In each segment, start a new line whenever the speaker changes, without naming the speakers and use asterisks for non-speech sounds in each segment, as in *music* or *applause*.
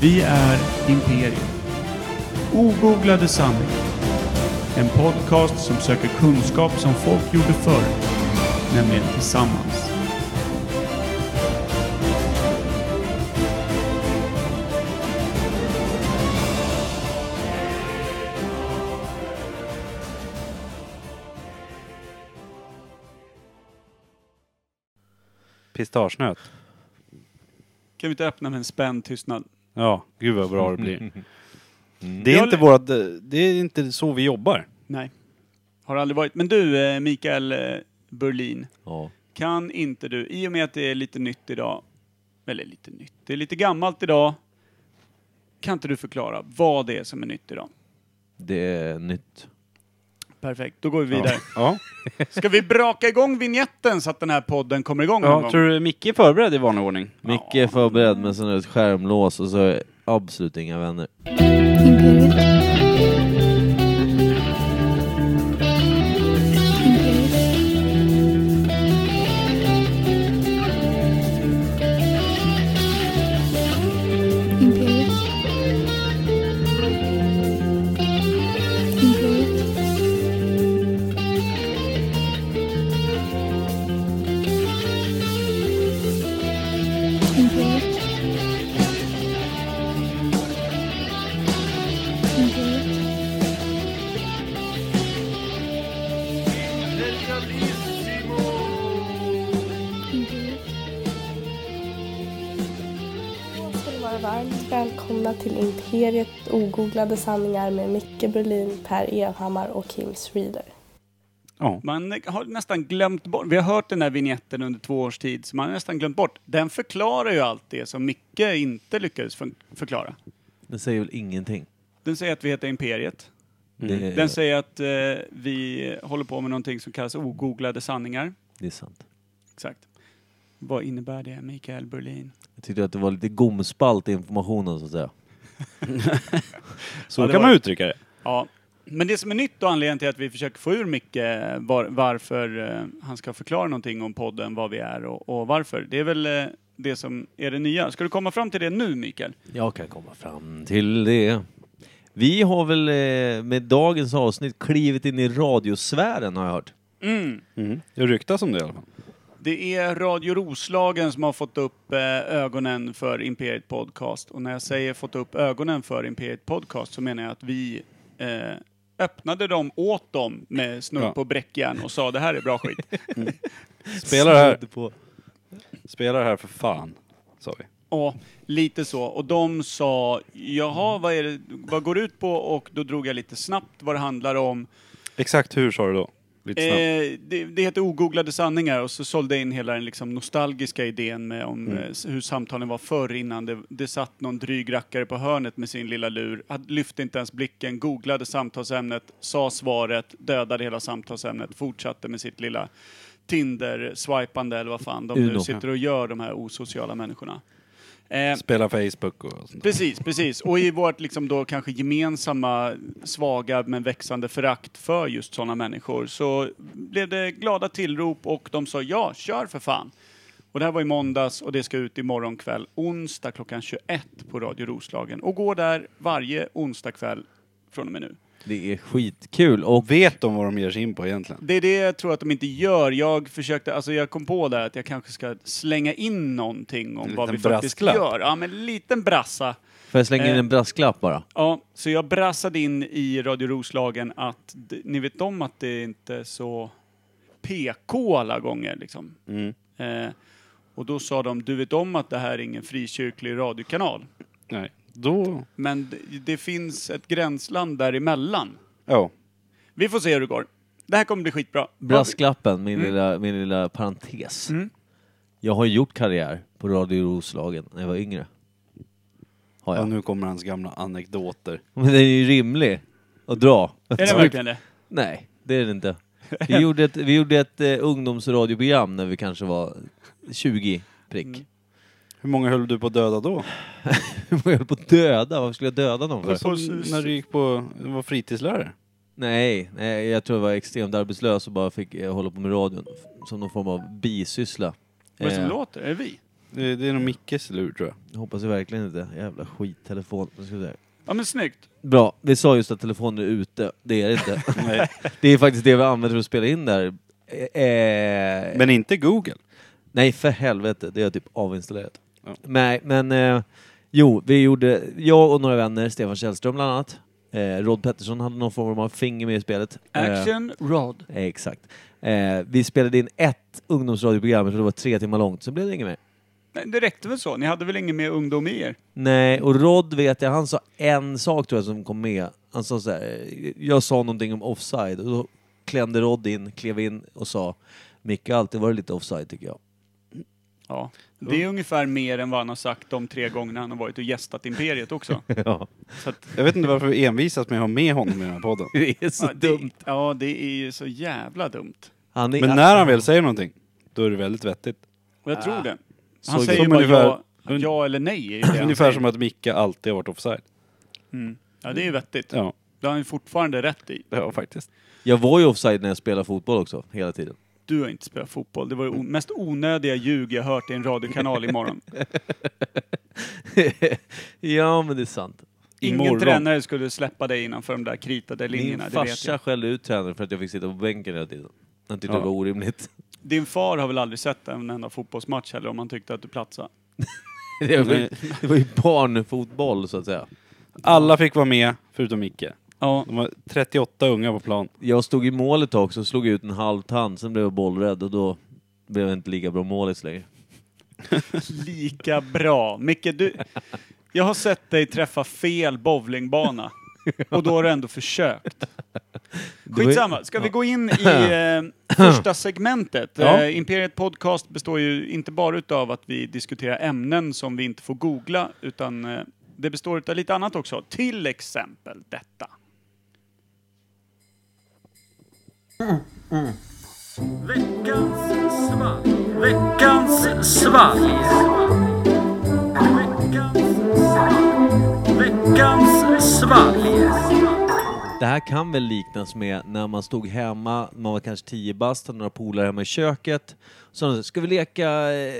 Vi är Imperium. Ogooglade sanningar. En podcast som söker kunskap som folk gjorde förr, nämligen tillsammans.
Pistagenöt.
Kan vi inte öppna med en spänd tystnad?
Ja, gud vad bra det *laughs* blir. Mm. Det
Jag
är, inte
lä-
vårat, eh, det är inte så vi jobbar.
Nej. Har aldrig varit. Men du, eh, Mikael eh, Berlin.
Ja.
Kan inte du, i och med att det är lite nytt idag, eller lite nytt, det är lite gammalt idag. Kan inte du förklara vad det är som är nytt idag?
Det är nytt.
Perfekt, då går vi vidare.
Ja,
Ska vi braka igång vignetten så att den här podden kommer igång någon
ja
gång?
tror du Micke är förberedd i vanlig ordning?
Micke är förberedd med sån där ett skärmlås och så är jag absolut inga vänner.
Imperiet. Imperiet. Imperiet. Imperiet. Imperiet. Imperiet. Imperiet.
ska ni vara varmt välkomna till Imperiet ogooglade sanningar med Micke Berlin, Per Evhammar och Kim Reader.
Ja.
Man har nästan glömt bort, vi har hört den här vignetten under två års tid, så man har nästan glömt bort. Den förklarar ju allt det som Micke inte lyckades fun- förklara.
Det säger väl ingenting.
Den säger att vi heter Imperiet.
Det,
Den
är,
säger att eh, vi håller på med någonting som kallas ogooglade sanningar.
det är sant.
Exakt. Vad innebär det, Mikael Berlin?
Jag tyckte att det var lite gomspalt i informationen så att säga.
Så
Ja, det
kan
var-
man uttrycka det.
Ja. Men det som är nytt och anledningen till att vi försöker få ur Micke var, varför eh, han ska förklara någonting om podden, vad vi är och, och varför. Det är väl eh, det som är det nya. Ska du komma fram till det nu, Mikael?
Jag kan komma fram till det. Vi har väl eh, med dagens avsnitt klivit in i radiosfären har jag hört.
Det ryktas om det i alla fall.
Det är Radio Roslagen som har fått upp eh, ögonen för Imperiet Podcast. Och när jag säger fått upp ögonen för Imperiet Podcast så menar jag att vi eh, öppnade dem åt dem med snudd
Ja.
på bräckjärn och sa det här är bra skit.
Spela det här.
Snudd På.
Spela det här för fan, sa vi.
Ja, lite så. Och de sa, jaha, vad, är det, vad går det ut på? Och då drog jag lite snabbt vad det handlar om.
Exakt hur sa du då? Lite snabbt.
Eh, det, det heter Ogooglade sanningar och så sålde jag in hela den liksom nostalgiska idén med om eh, s- hur samtalen var förr innan det, det satt någon dryg rackare på hörnet med sin lilla lur, hade- lyfte inte ens blicken, googlade samtalsämnet, sa svaret, dödade hela samtalsämnet, fortsatte med sitt lilla Tinder-swipande eller vad fan de nu
Uno.
sitter och gör, de här osociala människorna. Eh,
Spela Facebook och sånt.
Precis, precis. Och i vårt liksom då kanske gemensamma svaga men växande förakt för just sådana människor så blev det glada tillrop och de sa ja, kör för fan. Och det här var i måndags och det ska ut imorgon kväll, onsdag klockan 21 på Radio Roslagen och går där varje onsdag kväll från och med nu.
Det är skitkul och
Vet de vad de ger sig in på egentligen?
Det är det jag tror att de inte gör. Jag försökte, alltså jag kom på där att jag kanske ska slänga in någonting om
En
vad vi
liten
faktiskt
brasklapp.
gör. Ja, men en liten brassa.
Får jag slänga in
Eh.
en brasklapp bara?
Ja, så jag brassade in i Radio Roslagen att d- ni vet om att det är inte är så PK alla gånger liksom. Eh, och då sa de, du vet om att det här är ingen frikyrklig radiokanal.
Nej. Då...
Men d- det finns ett gränsland däremellan.
Ja.
Vi får se hur det går. Det här kommer bli skitbra.
Brasklappen, min, lilla, min lilla parentes. Jag har gjort karriär på Radio Roslagen när jag var yngre. Har
ja.
jag.
Nu kommer hans gamla anekdoter.
Men den är ju rimlig att dra.
Är det verkligen det?
Nej, det är den inte. Vi
*laughs*
gjorde ett, vi gjorde ett eh, ungdomsradioprogram när vi kanske var 20 prick.
Mm.
*laughs*
Hur många höll du på att döda då?
jag höll på att döda, varför skulle jag döda någon för?
Som när du gick på... Du var fritidslärare?
Nej, nej, jag tror jag var extremt arbetslös och bara fick eh, hålla på med radion f- som någon form av bisyssla.
Vad är det som
Eh,
låter? Är det vi?
Det, det är nog Mickes lur
*laughs*
tror jag.
Jag hoppas ju verkligen inte. Jävla skittelefon. Vad ska jag säga?
Ja men snyggt.
Bra, vi sa just att telefonen är ute. Det är
*laughs*
det inte.
Nej.
det är faktiskt det vi använder för att spela in där. Eh,
Men inte Google.
Nej, för helvete. Det är jag typ avinstallerat.
Ja.
Nej, men... Eh, jo, vi gjorde... Jag och några vänner, Stefan Källström bland annat. Eh, Rod Pettersson hade någon form av finger med i spelet.
Action Rod.
Eh, exakt. Eh, vi spelade in ett ungdomsradioprogram, jag tror det var tre timmar långt, sen blev det inget mer.
Nej, det räckte väl så? Ni hade väl ingen mer ungdom i er?
Nej, och Rod vet jag, han sa en sak tror jag som kom med. Han sa så här, eh, jag sa någonting om offside och då klämde Rod in, klev in och sa Micke har alltid varit lite offside tycker jag.
Ja. Det är ungefär mer än vad han har sagt de tre gångerna han har varit och gästat Imperiet också.
*laughs* ja,
Jag vet inte varför vi envisas med att ha med honom i den här podden.
det är så
ja,
dumt.
Det, ja, det är ju så jävla dumt.
Han är,
Men när han väl säger någonting, då är det väldigt vettigt.
Och jag tror det.
så
Ah. Han säger ju
som
bara
ungefär-
ja, ja eller nej. Är det han
Ungefär
säger.
som att Micke alltid har varit offside.
Mm. Ja, det är ju vettigt.
Ja,
Det har han ju fortfarande rätt i.
ja faktiskt.
Jag var ju offside när jag spelade fotboll också, hela tiden.
Du har inte spelat fotboll. Det var det o- mest onödiga ljug jag hört i en radiokanal imorgon.
*laughs* ja, men det är sant.
Ingen
Imorgon.
tränare skulle släppa dig innanför de där kritade linjerna,
Min
det vet
farsa
jag.
skällde ut tränaren för att jag fick sitta på bänken hela tiden. Han tyckte
Ja.
det var orimligt. *laughs*
Din far har väl aldrig sett en enda fotbollsmatch heller om han tyckte att du platsade?
det, var ju, det var ju barnfotboll, så att säga.
Alla fick vara med, förutom Micke.
Ja.
De var 38 unga på plan.
Jag stod i målet ett tag, så slog jag ut en halv tand, sen blev jag bollrädd och då blev jag inte lika bra målis längre.
Lika bra. Micke, du... Jag har sett dig träffa fel bowlingbana. Och då har du ändå försökt.
Det var ju-
Skitsamma, ska vi gå in i eh, första segmentet?
Ja.
Eh, Imperiet Podcast består ju inte bara utav att vi diskuterar ämnen som vi inte får googla, utan eh, det består utav lite annat också. Till exempel detta.
Det här kan väl liknas med när man stod hemma, man var kanske 10 bast, hade några polare hemma i köket. Så de sa, ska vi leka, eh,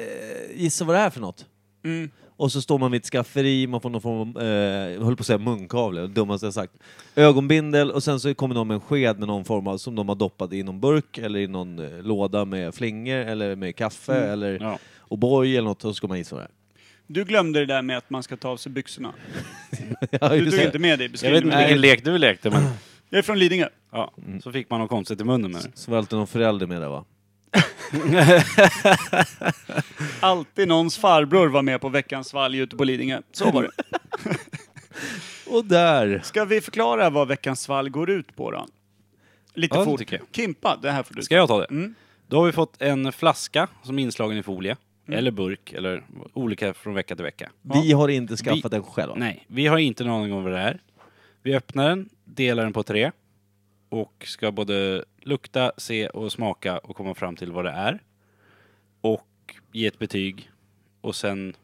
gissa vad det är för något?
Mm.
Och så står man vid ett skafferi, man får någon form av, eh, jag höll på att säga munkavle, det dummaste jag sagt. Ögonbindel och sen så kommer någon med en sked med någon form av, som de har doppat i någon burk eller i någon eh, låda med flingor eller med kaffe eller
Ja.
O'boy eller något, och så ska man gissa vad det är. *laughs*
Du glömde det där med att man ska ta av sig byxorna.
Ja,
Du
just
tog
det.
inte med det i
Jag vet inte
beskrivningen.
vilken lek du
*clears throat*
lekte men...
Jag är från Lidingö.
Ja,
Mm.
så fick man något konstigt i munnen med det.
Så var det alltid någon förälder med där va?
Alltid någons farbror var med på veckans valg ute på Lidingö. Så var det.
Och där!
Ska vi förklara vad veckans valg går ut på då? Lite
Ja, det
fort.
tycker jag.
Kimpa, det här får du.
Ska jag ta det?
Mm.
Då har vi fått en flaska som är inslagen i folie.
Mm.
Eller burk, eller olika från vecka till vecka.
Vi har inte skaffat den själva.
Nej, vi har inte någon aning om vad det är. Vi öppnar den, delar den på tre och ska både lukta, se och smaka och komma fram till vad det är. Och ge ett betyg och sen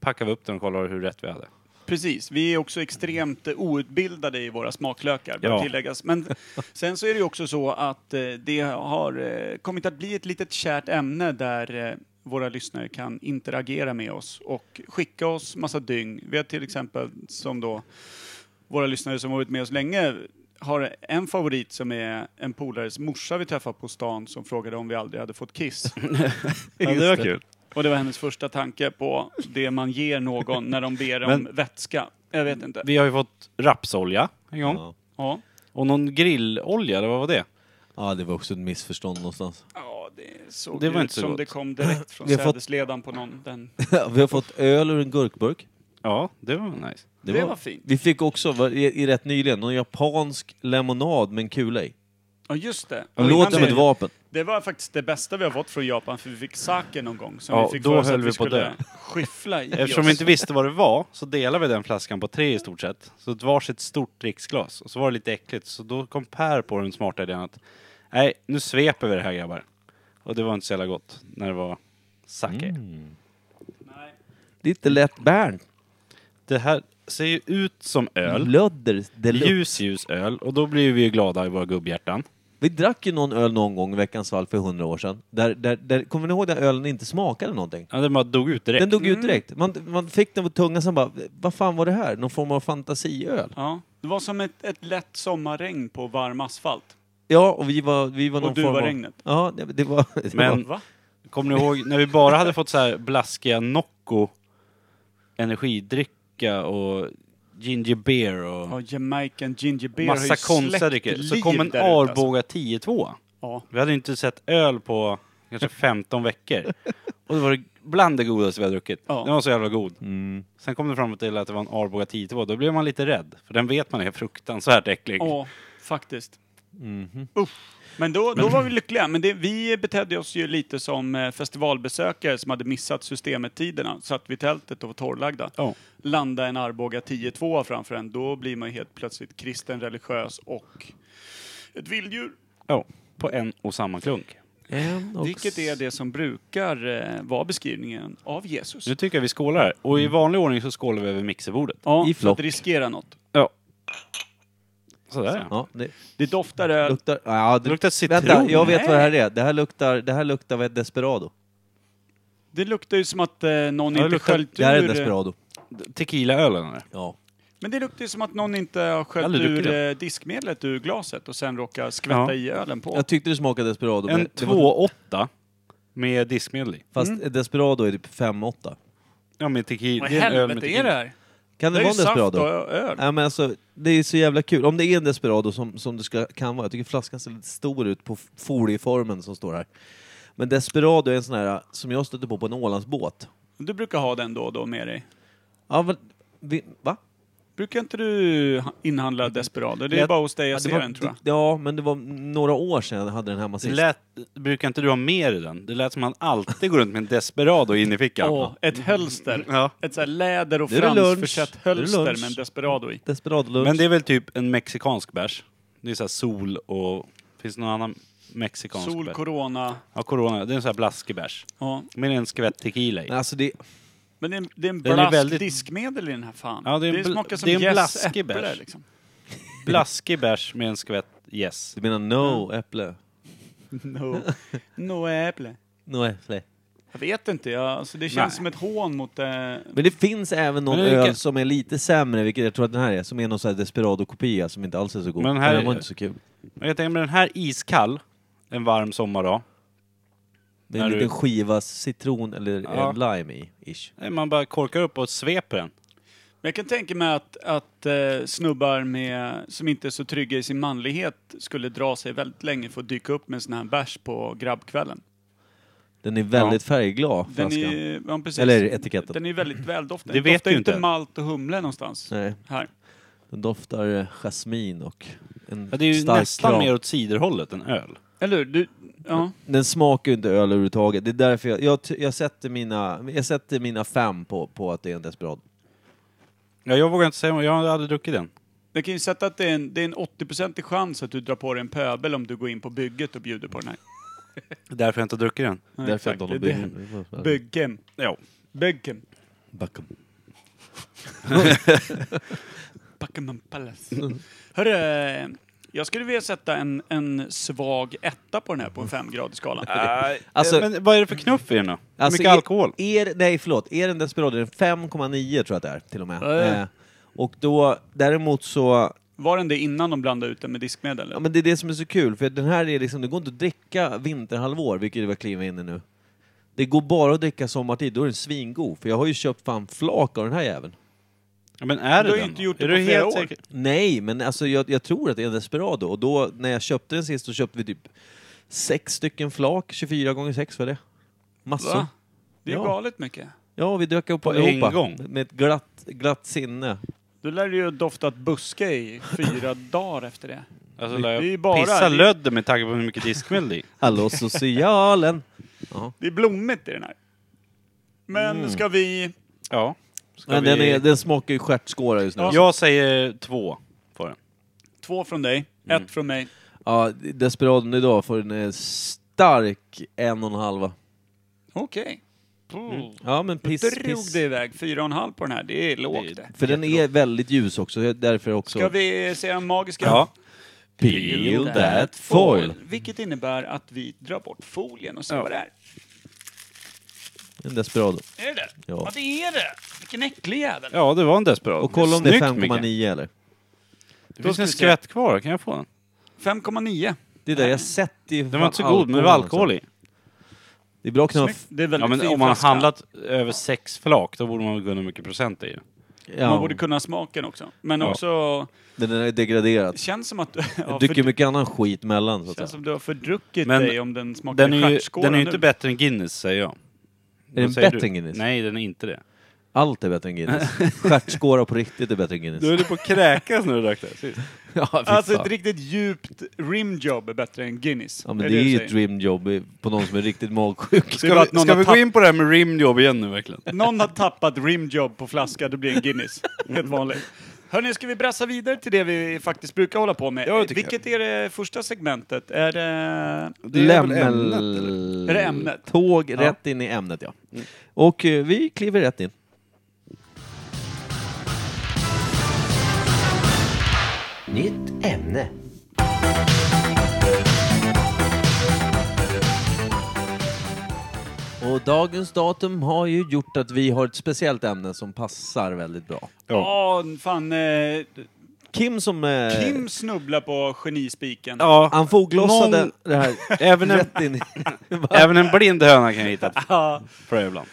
packar vi upp den och kollar hur rätt vi *laughs* hade.
Precis, vi är också extremt eh, outbildade i våra smaklökar, bör
Ja.
tilläggas.
*laughs*
Men sen så är det ju också så att eh, det har eh, kommit att bli ett litet kärt ämne där eh, våra lyssnare kan interagera med oss och skicka oss massa dyng. Vi har till exempel som då våra lyssnare som har varit med oss länge har en favorit som är en polares morsa vi träffade på stan som frågade om vi aldrig hade fått
*laughs*
kiss. *laughs*
det var kul.
Och det var hennes första tanke på det man ger någon när de ber om
Men-
vätska. Jag vet inte.
Vi har ju fått rapsolja en gång.
Ja.
Ja.
Och någon grillolja, eller vad var det?
ja, det var också ett missförstånd *laughs* någonstans.
Ja, det såg
Det
ut
var inte så
som
gott.
det kom direkt från
Vi har fått-
sädesledan på någon. Den.
vi har fått öl ur en gurkburk.
Ja, det var nice.
Det var fint.
Vi fick också, var, i, i rätt nyligen, någon japansk lemonad med en kula i.
Ja, just det. Och
Den
innan
låter som
det-
ett vapen.
Det var faktiskt det bästa vi har fått från Japan, för vi fick sake någon gång. Som
Ja,
vi fick
då
för oss
höll
att
vi
vi
på att
skulle
dö.
skyffla i
*laughs* Eftersom
oss.
vi inte visste vad det var så delade vi den flaskan på tre i stort sett. Så ett varsitt stort dricksglas. Och så var det lite äckligt. Så då kom Per på den smarta idén att nej, nu sveper vi det här grabbar. Och det var inte så jävla gott när det var sake.
Mm.
Nej.
Lite lätt bärn.
Det här ser ju ut som öl.
Lödder deluxe.
Ljus ljus öl. Och då blir vi ju glada i våra gubbhjärtan.
Vi drack ju någon öl någon gång i Veckans Valp för hundra år sedan. Där, där, där, kommer ni ihåg där ölen inte smakade någonting?
Ja, den bara dog ut direkt.
Den dog
Mm.
ut direkt. Man, man fick den på tungan sen bara, vad fan var det här? Någon form av fantasiöl?
Ja. Det var som ett, ett lätt sommarregn på varm asfalt.
Ja, och vi var, vi var
Och
någon
du
form
var
av...
regnet.
Ja, det, det var... *laughs* Det
Men-
var
Va?
Kommer ni ihåg när vi bara hade fått så här blaskiga Nocco, energidricka och ginger beer och
Ja, Jamaican ginger beer har ju
massa konstiga
släckt
drycker. Så
liv
kom en
där ute, alltså.
Arboga 10-2.
Ja.
Vi hade inte sett öl på kanske 15 veckor. Och det var det bland det godaste vi hade druckit.
Ja.
Den var så jävla god.
Mm.
Sen kom det fram till att det var en Arboga 10-2. Då blev man lite rädd. För den vet man är fruktansvärt äcklig.
Ja, faktiskt. Usch. Men då, då var vi lyckliga. Men det, vi betedde oss ju lite som eh, festivalbesökare som hade missat systemet-tiderna. Satt vid tältet och var torrlagda.
Ja.
Landa en Arboga 10-2 framför en, då blir man ju helt plötsligt kristen, religiös och ett vilddjur.
Ja, På en och samma klunk.
en och
Vilket är det som brukar eh, vara beskrivningen av Jesus.
Nu tycker jag vi skålar. här. Och
Mm.
i vanlig ordning så skålar vi över mixerbordet.
Ja,
I
för att
flock.
riskera något.
Ja. Sådär ja.
Ja, det
Det doftar öl.
luktar... Ja,
Det
det,
luktar citron.
vänta, jag vet
Nej.
vad det här är. Det här luktar, det här luktar vad är det, Desperado.
Det luktar ju som att eh, någon
Ja, det
inte
luktar-
sköljt
Det här är
ur-
Desperado.
Tequilaölen eller?
Ja.
Men det luktar ju som att någon inte har sköljt
Aldrig druckit
ur eh, diskmedlet ur glaset och sen råkar skvätta
Ja.
i ölen på.
Jag tyckte det smakade Desperado. men
En
det var-
2,8 med diskmedel i.
Fast
Mm.
Desperado är typ 5-8.
Ja, med tequila.
Vad
Det
i
är en öl med
helvete är
tequila.
det här?
Kan
Det är
det,
ju
vara en
saft
Desperado?
och ö- öl.
Ja, men alltså, det är så jävla kul. Om det är en Desperado som, som det ska, kan vara, jag tycker flaskan ser lite stor ut på folieformen som står här. Men Desperado är en sån här som jag stötte på på en Ålandsbåt.
Du brukar ha den då och då med dig.
Ja, va? Vi, va?
Brukar inte du ha- inhandla
Mm.
Desperado? Det är
Jag-
bara hos dig jag
Ja, det
ser
var,
den tror jag.
det- Ja, men det var några år sedan jag hade den hemma
Det
sist.
lät, brukar inte du ha mer i den? Det lät som att han alltid går runt med en Desperado in i fickan.
Åh, ett hölster.
Ja.
Ett så här läder och
Nu är det lunch.
fransförsett
Nu är det
hölster
lunch.
med en Desperado i.
Desperado-lunch.
Men det är väl typ en mexikansk bärs? Det är så här sol och... Finns det någon annan mexikansk
Sol,
bärs?
corona.
Ja, corona. Det är en sån här blaskig bärs.
Ja.
Med en skvätt tequila i.
Nej, Alltså det,
Men det är, det är en
Den är
blask
väldigt-
diskmedel i den här fan.
Ja, det är en bl-
smakar som
det är en
jäst
blaskig
äpple
bärs.
liksom. *laughs*
Blaskig bärs med en skvätt yes.
du menar no äpple?
No. no äpple.
No äpple.
Jag vet inte, jag, alltså det känns
Nej.
som ett hån mot... Eh,
Men det finns även någon
Men det är
öl
vilka-
som är lite sämre, vilket jag tror att den här är, som är någon sån här Desperado-kopia som inte alls är så god.
Men
Men
den här
den var
är-
inte så kul.
Men jag tänker med den här iskall, en varm sommardag.
Med en
När du-
liten skiva citron eller
Ja.
eh, lime i, ish.
Nej, Man bara korkar upp och sveper den.
Men jag kan tänka mig att, att eh, snubbar med, som inte är så trygga i sin manlighet skulle dra sig väldigt länge för att dyka upp med en sån här bärs på grabbkvällen.
Den är väldigt färgglad,
Den
flaskan.
är, ja, precis.
Eller etiketten.
Den är väldigt väldoftande.
Det
Den
vet
doftar
du
inte.
inte.
malt och humle någonstans.
Nej,
Här.
den doftar eh, jasmin och en
Ja, det är ju
stark
nästan
kram.
mer åt ciderhållet än öl.
Eller hur? Du, ja.
Den smakar ju inte öl överhuvudtaget. Det är därför jag, jag, ty- jag, sätter, mina, jag sätter mina fem på, på att det är en Desperado.
Ja, jag vågar inte säga jag hade druckit den.
Jag kan ju sätta att det är en, det är en 80 chans att du drar på dig en pöbel om du går in på bygget och bjuder på den här.
Därför jag inte har druckit den.
Ja,
därför
exakt.
jag inte
Det är
håller
det.
på-
Byggen.
Ja.
Byggen.
Backum.
Buckingham Palace. Hörru, jag skulle vilja sätta en, en svag etta på den här på en femgradig skala.
Alltså-
Eh, men vad är det för knuff i den då? Hur
Alltså,
mycket
är-
alkohol?
Är, nej, förlåt. Är den Desperado, den 5,9 tror jag att det är till och med.
Äh.
Eh, och då, däremot så,
Var den det innan de blandade ut den med diskmedel?
ja men det är det som är så kul, för den här är liksom, det går inte att dricka vinterhalvår, vilket det var kliva in i nu. Det går bara att dricka sommartid, då är den svingod, för jag har ju köpt fan flak av den här jäveln.
Ja, men är
Du har
det den?
ju inte
då?
gjort det
är
på
du
flera
helt
år.
säker?
Nej, men alltså jag, jag tror att det är en Desperado, och då, när jag köpte den sist, så köpte vi typ sex stycken flak, 24 gånger 6 var det. Massor.
Va? Det är ju
Ja.
galet mycket.
Ja, vi dök upp
På en
allihopa.
gång?
Med ett glatt, glatt sinne.
Du lär ju ha doftat buske i fyra dagar efter det.
Alltså,
Det är
det
ju bara-
pissa
det-
lödder med tanke på hur mycket diskmedel det är i.
Hallå socialen!
Det är blommigt i den här. Men ska vi...
*laughs* Ja. Ska
Men
vi...
den, är, den smakar ju stjärtskåra just nu. Ja.
Jag säger två på den.
Två från dig, ett från mig.
Desperadon idag får en eh, stark en och en halva.
Okej. Mm.
Ja men piss,
Drog
piss.
det iväg. Fyra och en halv på den här. Det är lågt det.
För den är väldigt ljus också, därför också...
Ska vi se den magiska?
Ja.
Peel that foil.
Vilket innebär att vi drar bort folien och ser
Ja.
vad det är.
En desperado.
Är det det?
Ja.
ja, det är det! Vilken äcklig jävel!
Ja, det var en desperat.
Och kolla om det är
Snyggt,
5,9 eller?
Det finns
ska
en
vi se.
skvätt kvar, kan jag få den?
5,9.
Det är där jag sett i...
Den var inte så god, men det var alkohol
alltså.
i.
Det är bra att kunna...
Snyggt. Det är väldigt
Ja, men
fin
om man har
flaska.
handlat över sex flak, då borde man väl kunna hur mycket procent det är.
Man
Ja,
borde kunna smaken också. Men
Ja.
också,
den är degraderad.
känns som att du,
Det
ja,
dyker
för,
mycket annan skit mellan så att
känns
säga.
som du har fördruckit
Men
dig om den smakar
Den är ju
stjärtskåra
den är ju
nu.
inte bättre än Guinness, säger jag.
Är den bättre än Guinness?
Nej, den är inte det.
Allt är bättre än Guinness. Stjärtskåra på riktigt är bättre än Guinness.
höll på att kräkas när du drack det sist.
*laughs* Ja, fy
Alltså
fan.
ett riktigt djupt rimjob är bättre än Guinness.
Ja, men
Är
det är
du
ju
säger?
ett dreamjob i- på någon som är
*laughs*
riktigt magsjuk.
Det är bara
Ska
att
vi,
någon
ska
har
vi
tapp-
gå in på det här med rimjobb igen nu verkligen?
Någon har tappat rimjob på flaska, det blir en Guinness. Helt vanligt. Hörni, ska vi brassa vidare till det vi faktiskt brukar hålla på med?
Ja, det tycker
Vilket är det första segmentet? Är det...
Lämmel...
Är det ämnet? Mm.
Tåg rätt in i ämnet, ja. Och eh, vi kliver rätt in.
Nytt ämne.
Och dagens datum har ju gjort att vi har ett speciellt ämne som passar väldigt bra.
Ja, fan. Eh,
Kim som... Eh,
Kim snubblar på genispiken.
Ja,
Han foglossade
Någon-
det här
*laughs*
även en,
rätt in i...
*laughs* även en blind höna kan hitta ett
Ja.
frö ibland.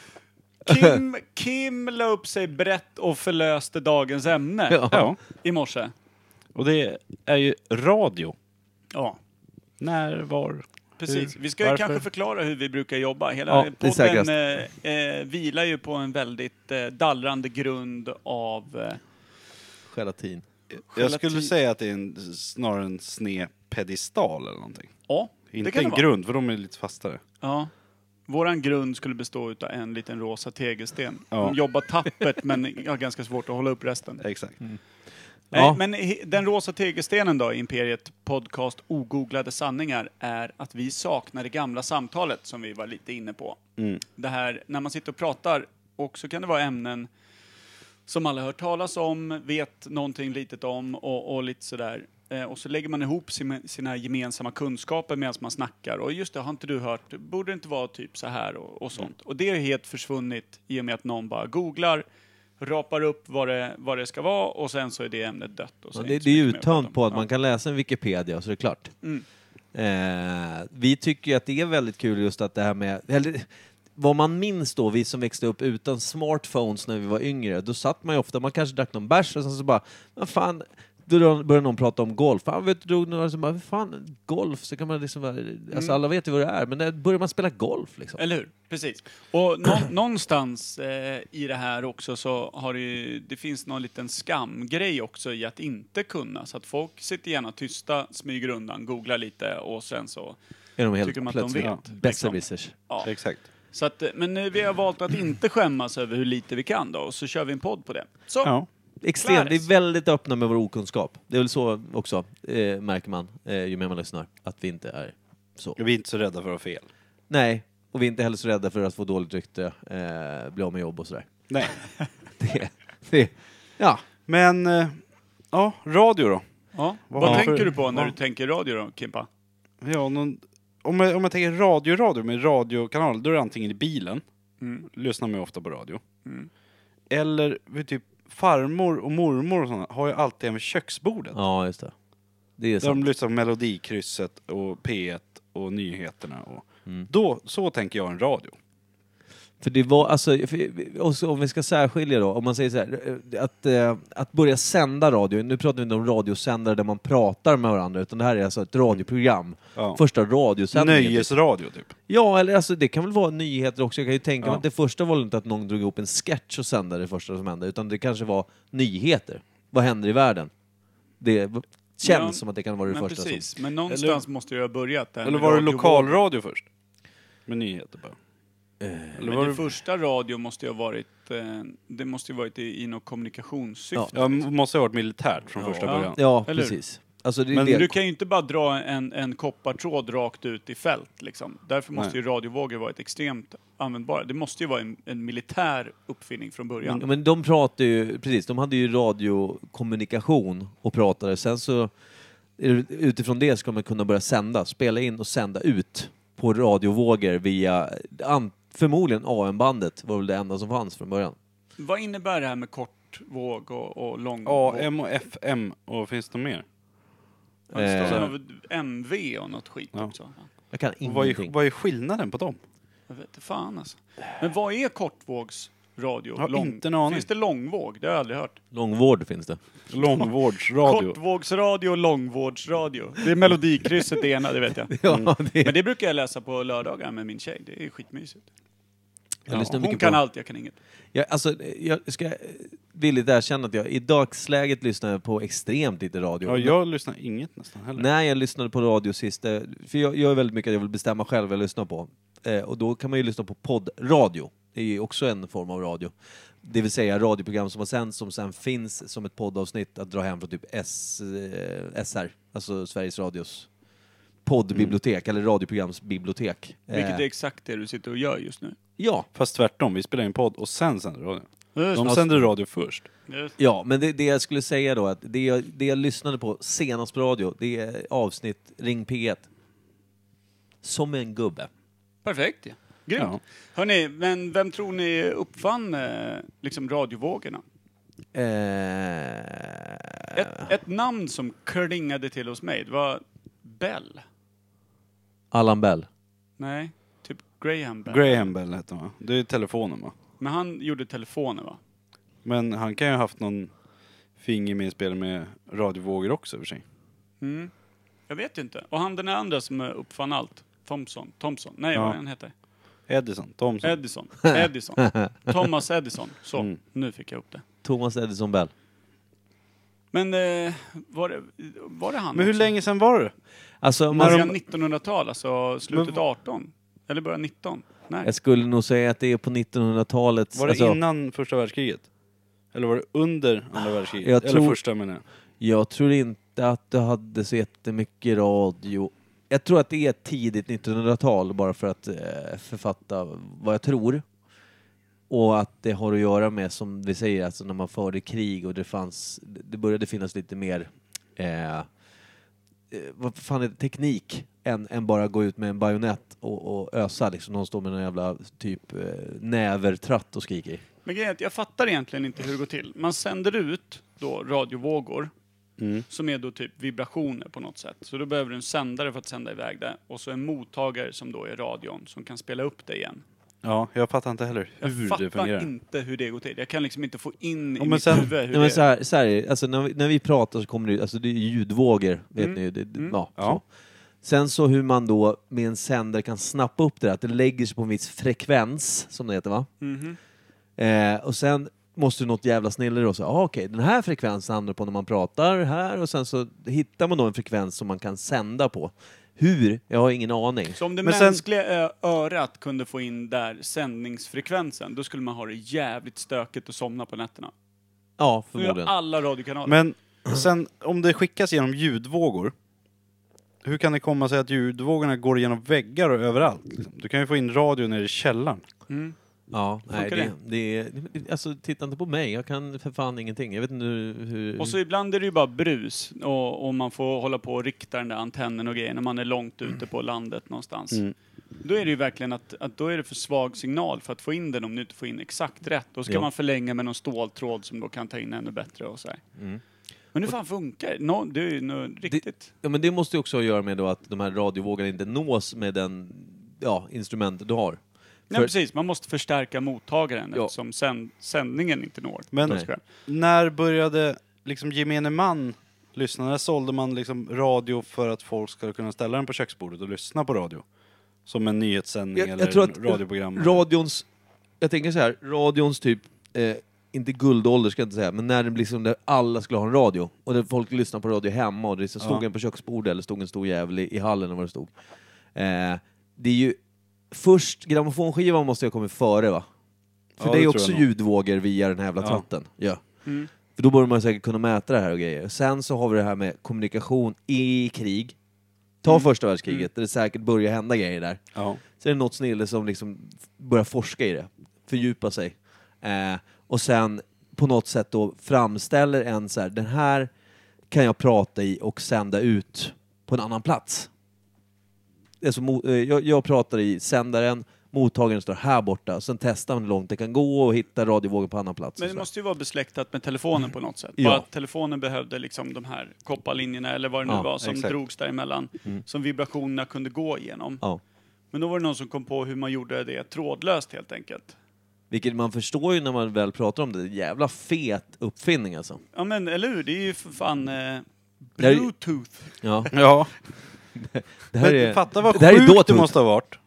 Kim, Kim la upp sig brett och förlöste dagens ämne
Ja,
i morse.
och det är ju radio.
Ja.
När, var?
Precis.
Hur?
Vi ska ju
Mm. Varför?
kanske förklara hur vi brukar jobba.
Ja,
Hela
det är
podden
säkrast.
eh, eh, vilar ju på en väldigt eh, dallrande grund av... Eh,
Gelatin.
Jag skulle
Gelatin.
säga att det är en, snarare en sned pedestal eller någonting.
ja,
Inte
det kan det
en
vara. Mm.
grund, för de är lite fastare.
Ja. Våran grund skulle bestå av en liten rosa tegelsten.
Ja.
De jobbar tappert men har ganska svårt att hålla upp resten.
Exakt.
Nej,
Ja.
men he- den rosa tegelstenen då, i Imperiet Podcast Ogooglade sanningar, är att vi saknar det gamla samtalet som vi var lite inne på. Det här när man sitter och pratar och så kan det vara ämnen som alla hört talas om, vet någonting litet om och, och lite sådär. Eh, och så lägger man ihop sina, sina gemensamma kunskaper medan man snackar. Och just det, har inte du hört, borde det inte vara typ så här och, och sånt.
Mm.
Och det är helt försvunnit i och med att någon bara googlar, rapar upp vad det, vad det ska vara och sen så är det ämnet dött. Och så
Ja,
är
det,
inte
det
så
är ju
mycket mer att prata
uttömt
om.
på att
Ja.
man kan läsa en Wikipedia och så är det klart.
Mm.
Eh, vi tycker ju att det är väldigt kul just att det här med... Eller, vad man minns då, vi som växte upp utan smartphones när vi var yngre, då satt man ju ofta, man kanske drack någon bärs och sen så bara, vad fan, då drar- börjar någon prata om golf. Fan, vet du, några som bara, "Vad fan, golf, så kan man liksom, bara-
Mm.
alltså alla vet ju vad det är, men när börjar man spela golf liksom?
Eller hur? Precis. Och
*clears throat*
nå- någonstans eh, i det här också så har det ju, det finns någon liten skamgrej också i att inte kunna. Så att folk sitter gärna tysta, smyger undan, googlar lite och sen så...
Är de helt
Tycker man att de
plötsligt
vet, liksom.
besserwissers?
Ja.
Exakt.
Så att, eh, men eh, vi har valt att inte skämmas över hur lite vi kan då och så kör vi en podd på det. Så!
Ja.
Extremt, vi är
Klaris.
väldigt öppna med vår okunskap. Det är väl så också, eh, märker man, eh, ju mer man lyssnar, att vi inte är så.
Vi är inte så rädda för att ha fel.
Nej, och vi är inte heller så rädda för att få dåligt rykte, eh, bli av med jobb och sådär.
Nej.
*laughs* Det, det, ja,
Men, eh, ja, radio då.
Ja. Vad
Ja.
tänker du på när
Ja.
du tänker radio då, Kimpa?
Ja, någon, om, jag, om jag tänker radio, radio med radiokanal, då är det antingen i bilen,
Mm.
lyssnar man ju ofta på radio.
Mm.
Eller vid typ farmor och mormor och sådana har ju alltid en vid köksbordet.
ja just det. Det är
där de
sant.
lyssnar på Melodikrysset och P1 och nyheterna. Och,
Mm.
då, så tänker jag en radio.
För det var, alltså, för, och så om vi ska särskilja då, om man säger så här, eh, att, eh, att börja sända radio, nu pratar vi inte om radiosändare där man pratar med varandra, utan det här är alltså ett radioprogram.
Ja.
Första radiosändningen.
Nöjesradio typ.
Ja, eller alltså det kan väl vara nyheter också. Jag kan ju tänka mig
Ja.
att det första var väl inte att någon drog ihop en sketch och sände det första som hände, utan det kanske var nyheter. Vad händer i världen? Det v- känns
Ja,
som att det kan vara det
Men
första
precis,
som...
men någonstans måste jag ha börjat där.
Eller
med
var det
radiovåg-
lokalradio först? Med nyheter bara. Eller
Men
var
det
det,
första radio måste ju ha varit, eh, det måste ju varit i, i något kommunikationssyfte.
ja, måste ha varit militärt från första
Ja.
början.
Ja,
Eller hur?
precis. Alltså det,
Men
det,
Du kan ju inte bara dra en, en koppartråd rakt ut i fält. Liksom. Därför måste
Nej.
ju radiovågor vara ett extremt användbara. Det måste ju vara en, en militär uppfinning från början.
men, men de pratade ju, precis, de hade ju radiokommunikation och pratade. Sen så eh, Utifrån det ska man kunna börja sända, spela in och sända ut på radiovågor via an, förmodligen AM-bandet var väl det enda som fanns från början.
Vad innebär det här med kortvåg och, och långvåg?
AM och FM och finns det mer?
Ja, det står
eh,
något MV och något skit
Ja.
också.
Jag kan
Och Vad är,
ingenting.
vad är skillnaden på dem?
Jag vet inte fan alltså. Men vad är kortvågsradio?
Har inte en aning.
Finns det långvåg? Det har jag aldrig hört.
Långvård finns det.
Långvårdsradio.
Kortvågsradio och långvårdsradio.
*laughs*
Det är melodikrysset det ena, det vet jag. Mm.
Ja, det,
Men det brukar jag läsa på lördagar med min tjej. Det är skitmysigt.
jag lyssnar
Hon
mycket
kan
på...
allt, jag kan inget.
Jag, alltså, jag ska villigt erkänna att jag i dagsläget lyssnar jag på extremt lite radio.
Ja, jag lyssnar inget nästan heller.
När jag lyssnade på radio sist, eh, för jag gör väldigt mycket att jag vill bestämma själv vad jag lyssnar på. Eh, och då kan man ju lyssna på poddradio. Det är ju också en form av radio. Det vill säga radioprogram som har sänds, som sen finns som ett poddavsnitt att dra hem från typ S, eh, SR, alltså Sveriges Radios poddbibliotek, eller radioprogramsbibliotek. Eh,
Mm. Vilket är exakt det du sitter och gör just nu.
Ja,
Fast tvärtom, vi spelar in podd och sen sänder radio.
Just,
De sänder radio först.
just.
Ja, men det, det jag skulle säga då, att det jag, det jag lyssnade på senast på radio, det är avsnitt Ring P1. Som en gubbe.
Perfekt ja. Grymt.
Ja.
Hörni, men vem tror ni uppfann eh, liksom radiovågorna?
Eh,
Ett, ett namn som klingade till hos mig, det var Bell.
Allan Bell.
Nej, typ Graham Bell.
Graham Bell heter han va? Det är telefonen va?
Men han gjorde telefoner va?
Men han kan ju ha haft någon finger med i spelet med radiovågor också i och för sig.
Mm. Jag vet inte. Och han den andra som eh, uppfann allt. Thomson. Thompson. Nej,
Ja.
vad han hette.
Edison, Thomson. *laughs*
Edison. Edison. Thomas Edison. Så,
Mm.
nu fick jag upp det.
Thomas Edison Bell.
Men eh, var, det, var det han
Men hur
också?
länge sedan var det?
Alltså, om
Början
man,
1900-tal, alltså slutet
Men
18? Eller början 19? Nej.
jag skulle nog säga att det är på 1900-talet.
Var det
alltså,
innan första världskriget? Eller var det under andra världskriget?
Jag
Eller
tror-
första menar jag.
Jag tror inte att det hade så jättemycket radio. Jag tror att det är tidigt 1900-tal bara för att eh, författa vad jag tror. Och att det har att göra med, som vi säger, alltså när man förde krig och det fanns, det började finnas lite mer, eh, eh, vad fan är det, teknik än, än bara gå ut med en bajonett och, och ösa liksom. Någon står med en jävla typ eh, nävertratt och skriker.
Men grejen är att jag fattar egentligen inte hur det går till. Man sänder ut då radiovågor
Mm.
som är då typ vibrationer på något sätt. Så då behöver du en sändare för att sända iväg det och så en mottagare som då är radion som kan spela upp det igen.
Ja, jag fattar inte heller
Jag
hur det
fattar
fungerar.
inte hur det går till. Jag kan liksom inte få in i
men
mitt
sen-
huvud hur
Nej, men
det
så här, så här är det. alltså, när, vi, när vi pratar så kommer det ju- alltså det är ljudvågor, vet
Mm,
ni ju. Det, det- Ja,
Ja.
Så. Sen så hur man då med en sändare kan snappa upp det där, att det lägger sig på en viss frekvens, som det heter va?
Mhm.
Eh, och sen måste ju något jävla snille då säga, ah, okej, den här frekvensen hamnar på när man pratar här och sen så hittar man då en frekvens som man kan sända på. Hur? Jag har ingen aning.
Så om det
Men sen-
mänskliga ö- örat kunde få in där sändningsfrekvensen, då skulle man ha det jävligt stökigt och somna på nätterna.
Ja,
Nu gör
förmodligen.
alla radiokanaler.
Men sen, om det skickas genom ljudvågor, hur kan det komma sig att ljudvågorna går genom väggar och överallt? liksom? Du kan ju få in radio nere i källaren.
Ja, nej,
Funkar
det, det, är- alltså titta inte på mig, jag kan för fan ingenting. Jag vet inte hur... hur
Och så ibland är det ju bara brus och, och man får hålla på och rikta den där antennen och grejer när man är långt ute på landet någonstans.
Mm.
Då är det ju verkligen att, att då är det för svag signal för att få in den om du inte får in exakt rätt. Då ska
Ja.
man förlänga med någon ståltråd som då kan ta in ännu bättre och så här. Men hur fan funkar det? Nå- det? är ju nå- riktigt.
Ja, men Mm. det måste ju också ha att göra med då att de här radiovågorna inte nås med den ja, instrument du har.
Nej
för-
precis, man måste förstärka mottagaren
Ja.
eftersom sänd, sändningen inte når.
Men
Då ska-
när började liksom gemene man lyssna? När sålde man liksom radio för att folk skulle kunna ställa den på köksbordet och lyssna på radio? Som en nyhetssändning
Jag,
eller
jag tror att
radioprogram?
radions, jag tänker så här, radions typ, eh, inte guldålder ska jag inte säga, men när det blir som där alla skulle ha en radio och där folk lyssnar på radio hemma och det så stod
Ja.
en på köksbordet eller stod en stor jävel i, i hallen eller vad det stod. Eh, det är ju först, grammofonskivan måste ju ha kommit före va? För
Ja,
det
det
är
tror
också
jag nog.
ljudvågor via den här jävla
Ja.
tratten. Ja. För då borde man säkert kunna mäta det här och grejer. Sen så har vi det här med kommunikation i krig. Ta första världskriget, där det säkert börjar hända grejer där.
Mm. Ja.
Så är det något snille som liksom f- börjar forska i det, fördjupa sig. Eh, och sen på något sätt då framställer en så här, den här kan jag prata i och sända ut på en annan plats. Det är som, mo- eh, jag, jag pratar i sändaren, mottagaren står här borta, sen testar man hur långt det kan gå och hitta radiovågen på annan plats. och
Men det
sådär.
måste ju vara besläktat med telefonen på något sätt.
Ja.
Bara att telefonen behövde liksom de här kopparlinjerna eller vad det nu
Ja,
var som
exakt. Mm.
drogs däremellan. Som vibrationerna kunde gå igenom.
Ja.
Men då var det någon som kom på hur man gjorde det trådlöst helt enkelt.
Vilket man förstår ju när man väl pratar om det, jävla fet uppfinning alltså.
Ja men eller hur, det är ju för fan eh,
Det här är-
Bluetooth.
Ja,
Ja,
det här
men
är,
fatta vad
det här är
sjukt det
dåtid.
måste ha varit.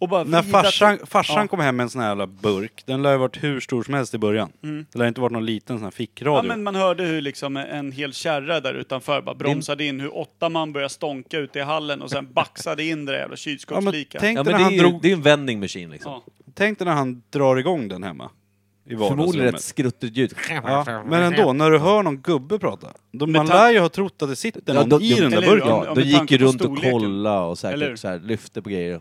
Och bara
När
vrida
farsan,
till-
farsan
ja.
kom hem med en sån här jävla burk, den lär ju ha varit hur stor som helst i början. Det lär inte varit någon liten sån här
Ja
fickradio.
men man hörde hur liksom en hel kärra där utanför bara bromsade in, hur åtta man började stånka ute i hallen och sen baxade in det där jävla
Ja, men
kylskåpslikan.
tänk,
Ja,
dig
men
när
det är
han
ju
drog,
det är en vending machine liksom.
Ja.
tänk dig när han drar igång den hemma. I
Förmodligen ett
vardagsrummet.
skruttigt ljud.
Ja, men ändå, när du hör någon gubbe prata. Då man
ta-
lär ju ha trott att det sitter
Ja,
någon
då-
i den där
eller hur?
burken.
Ja,
Ja,
men
de
med
gick
tanke
ju
på
runt och
storleken.
kollade och
Eller hur?
säkert så här, lyfte på grejer.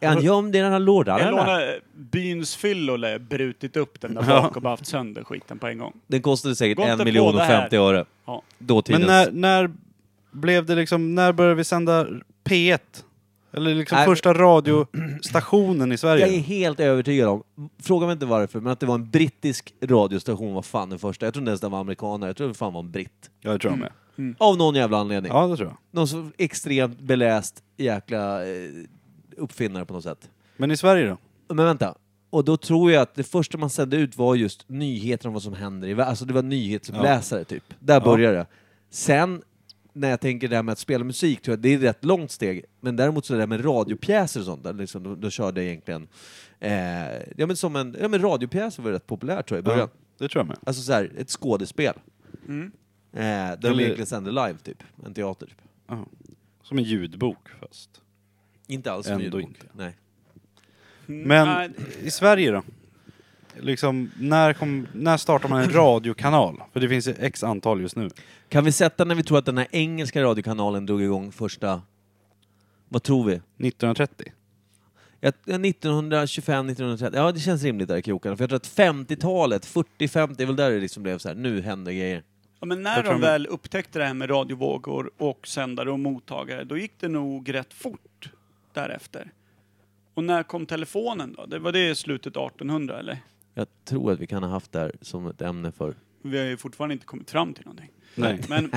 Är han gömd i den här lådan
Jag
eller?
lånade byns fyllo lär jag brutit upp den där bak och bara haft sönder skiten på en gång.
Den kostade säkert
Gå inte
en
på
miljon
det
och
här.
50 öre.
Ja.
Dåtidens.
Men när, när blev det liksom, när började vi sända P1? Eller liksom
Nej.
första radiostationen i Sverige?
Jag är helt övertygad om, fråga mig inte varför, men att det var en brittisk radiostation var fan den första. Jag tror inte ens den var amerikaner, jag tror det fan var en britt.
Ja, det tror jag med.
Mm.
Av någon jävla anledning.
Ja, det tror jag.
Någon så extremt beläst jäkla eh, uppfinnare på något sätt.
Men i Sverige då?
Men vänta. Och då tror jag att det första man sände ut var just nyheter om vad som händer i världen. Alltså det var nyhetsuppläsare typ. Där började det. Sen, när jag tänker det här med att spela musik, tror jag det är ett rätt långt steg. Men däremot så det där med radiopjäser och sånt, där liksom, då, då körde jag egentligen... Eh, ja men som en... Ja men radiopjäser var rätt populärt tror jag i början.
det tror jag med.
Alltså så här, ett skådespel. Eh, där
Mm. Eller-
de egentligen sände live typ. En teater typ.
Som en ljudbok fast.
Inte alls
Ändå
en ljudbok.
inte.
Nej. Mm,
Men
Mm, Nej,
i Sverige då? Liksom, när, kom, när startar man en radiokanal? För det finns ju x antal just nu.
Kan vi sätta när vi tror att den här engelska radiokanalen drog igång första... Vad tror vi?
1930.
Jag- 1925, 1930. Ja, det känns rimligt där i krokarna. För jag tror att 50-talet, 40-50, det är väl där det liksom blev så här. nu händer grejer.
Ja, men när
Jag tror
de
de-
väl upptäckte det här med radiovågor och sändare och mottagare, då gick det nog rätt fort därefter. Och när kom telefonen då? Det var det i slutet av 1800 eller?
Jag tror att vi kan ha haft det här som ett ämne för...
Vi har ju fortfarande inte kommit fram till någonting.
Nej.
Men,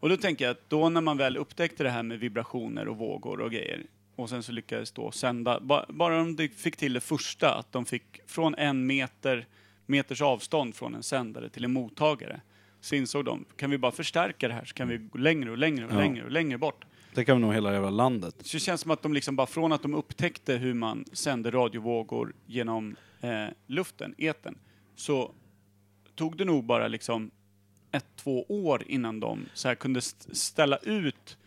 och då tänker jag att då när man väl upptäckte det här med vibrationer och vågor och grejer och sen så lyckades då sända, ba, bara om de fick till det första, att de fick från en meter, meters avstånd från en sändare till en mottagare, så insåg de, kan vi bara förstärka det här så kan vi gå längre och längre och
Ja.
längre och längre bort.
Det kan vi nog hela jävla landet.
Så det känns som att de liksom bara från att de upptäckte hur man sände radiovågor genom eh, luften, etern, så tog det nog bara liksom ett, två år innan de så här kunde st- ställa ut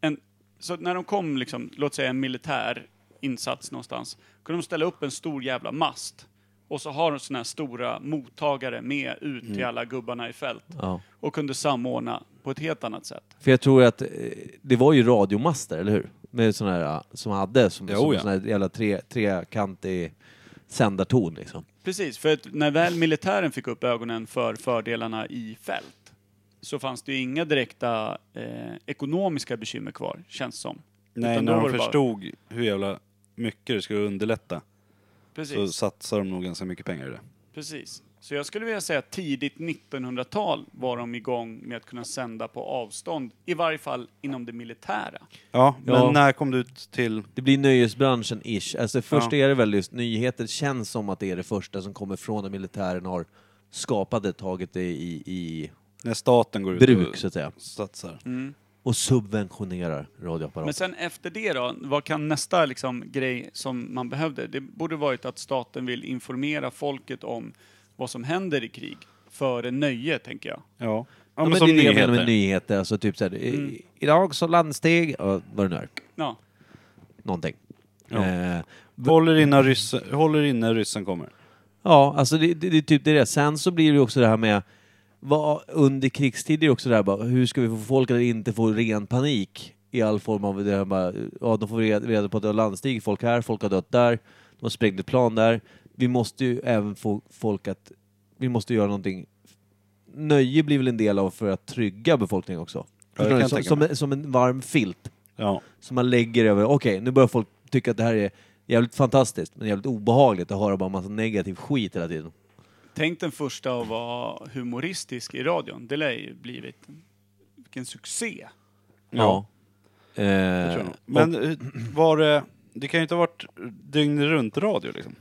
en... Så att när de kom, liksom, låt säga en militär insats någonstans, kunde de ställa upp en stor jävla mast. Och så har de såna här stora mottagare med ut till alla gubbarna i fält.
Ja.
Och kunde samordna på ett helt annat sätt.
För jag tror att eh, det var ju radiomaster, eller hur? Med sådana här eh, som hade, som,
Jo,
som
ja.
sån här jävla tre, trekantig sändarton liksom.
Precis, för att när väl militären fick upp ögonen för fördelarna i fält så fanns det ju inga direkta eh, ekonomiska bekymmer kvar, känns som.
Nej,
Utan då
när
var
de
det bara-
förstod hur jävla mycket det skulle underlätta
Precis,
så satsar de nog ganska mycket pengar i det.
precis. Så jag skulle vilja säga att tidigt 1900-tal var de igång med att kunna sända på avstånd, i varje fall inom det militära.
Ja, men
Ja.
när kom du ut till...
Det blir nöjesbranschen-ish. Alltså först
Ja.
är det väl just nyheter, känns som att det är det första som kommer från att militären har skapat det, tagit det i, i
När staten går ut
bruk
och
så att säga. Mm.
satsar.
Och subventionerar
Men
radioapparaten.
sen efter det då, vad kan nästa liksom, grej som man behövde? Det borde varit att staten vill informera folket om vad som händer i krig, före nöje, tänker jag.
Ja. Ja,
Ja,
men, som
det är det jag menar
nyheter. Mm.
med nyheter, alltså typ såhär, i, idag så landsteg, ja, vad det nu är,
Ja.
någonting.
Ja.
Eh,
Håller innan ryssen, håller innan ryssen kommer.
Ja, alltså det, det, det är typ det där. Sen så blir det ju också det här med vad, under krigstid är det också det här bara, hur ska vi få folk att inte få ren panik i all form av det här bara, ja de får reda, reda på att det har landstig, folk här, folk har dött där, de har sprängt ett plan där. Vi måste ju även få folk att, vi måste göra någonting nöje blir väl en del av för att trygga befolkningen också?
det kan
Förstår ni?
jag
Som,
tänka
som,
mig.
en- som en varm filt
Ja.
som man lägger över, okej nu börjar folk tycka att det här är jävligt fantastiskt men jävligt obehagligt att höra bara massa negativ skit hela tiden.
Tänk den första att vara humoristisk i radion. Det lär ju blivit... Vilken succé!
Ja,
Ja.
det tror
Eh,
jag nog. Men eh, var det... Det kan ju inte ha varit dygnet runt-radio liksom.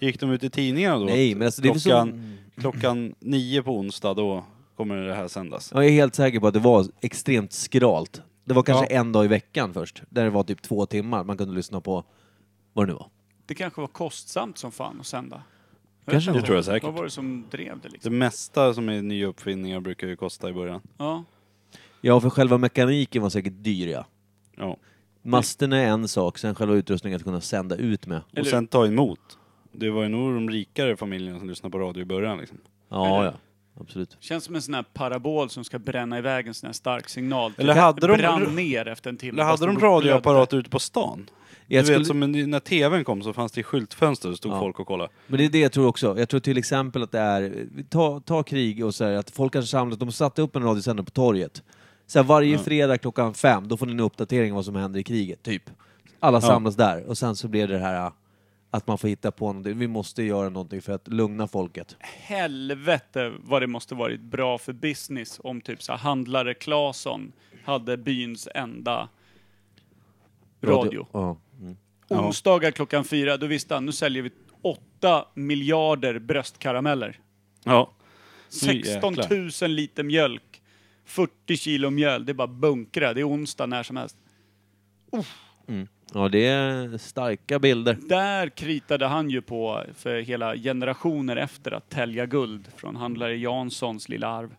Gick de ut i tidningarna då?
Nej, men alltså det är väl så-
klockan, klockan nio på onsdag då kommer det här sändas.
Jag är helt säker på att det var extremt skralt. Det var kanske
Ja.
en dag i veckan först, där det var typ två timmar man kunde lyssna på vad det nu var.
Det kanske var kostsamt som fan att sända.
Kanske
Det tror jag säkert.
Vad var det som drev det
Det
liksom?
mesta som är nya uppfinningar brukar ju kosta i början.
Ja.
Ja, för själva mekaniken var säkert dyr ja.
Ja.
Masterna är en sak, sen själva utrustningen att kunna sända ut med.
Och
Eller-
sen ta emot. Det var ju nog de rikare familjerna som lyssnade på radio i början liksom.
Ja,
Eller-
ja. Absolut.
Känns som en sån här parabol som ska bränna iväg en sån här stark signal.
Eller
Det
hade de-
brann ner efter en timme.
Eller
fast
hade de
blödde.
radioapparater ute på stan?
Jag
du
skulle-
vet som en- när tvn kom så fanns det skyltfönster, så stod
Ja.
folk och kollade.
Men det är det jag tror också. Jag tror till exempel att det är, ta, ta krig och så här, att folk kanske samlas, de satte upp en radiosändare på torget. Så här, varje fredag klockan fem, då får ni en uppdatering om vad som händer i kriget, typ. Alla samlas där och sen så blir det det här ah, att man får hitta på någonting. Vi måste göra någonting för att lugna folket.
Helvete vad det måste varit bra för business om typ så här, handlare Claesson hade byns enda radio.
Ja.
Onsdagar klockan fyra, då visste han nu säljer vi 8 miljarder bröstkarameller.
Ja.
16 000 liter mjölk. 40 kilo mjöl. Det är bara bunkra. Det är onsdag när som helst.
ja, det är starka bilder.
Där kritade han ju på för hela generationer efter att tälja guld från handlare Janssons lilla arv.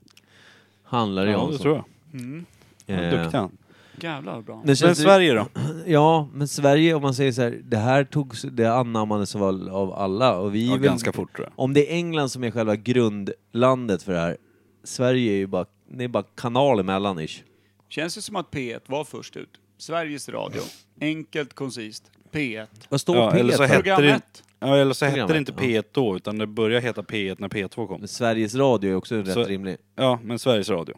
Handlar det
Ja,
om.
det
så.
tror jag.
Eh,
Duktig han.
Jävlar vad bra.
Men,
Men
känns det-
Sverige då?
Ja, men Sverige, om man säger så här, det här togs, det annammades av, av alla. Och vi är
Ja,
väl-
ganska fort tror jag.
Om det är England som är själva grundlandet för det här, Sverige är ju bara, det är bara kanal emellan ish.
Känns det som att P1 var först ut. Sveriges Radio. Enkelt, koncist. P1.
Vad står
Ja,
P1
eller så
för?
hette
Program
det,
ett.
ja, eller så hette
Program
det
ett,
inte P1 då, utan det började heta P1 när P2 kom.
Men Sveriges Radio är också rätt
Så-
rimlig.
Ja, men Sveriges Radio.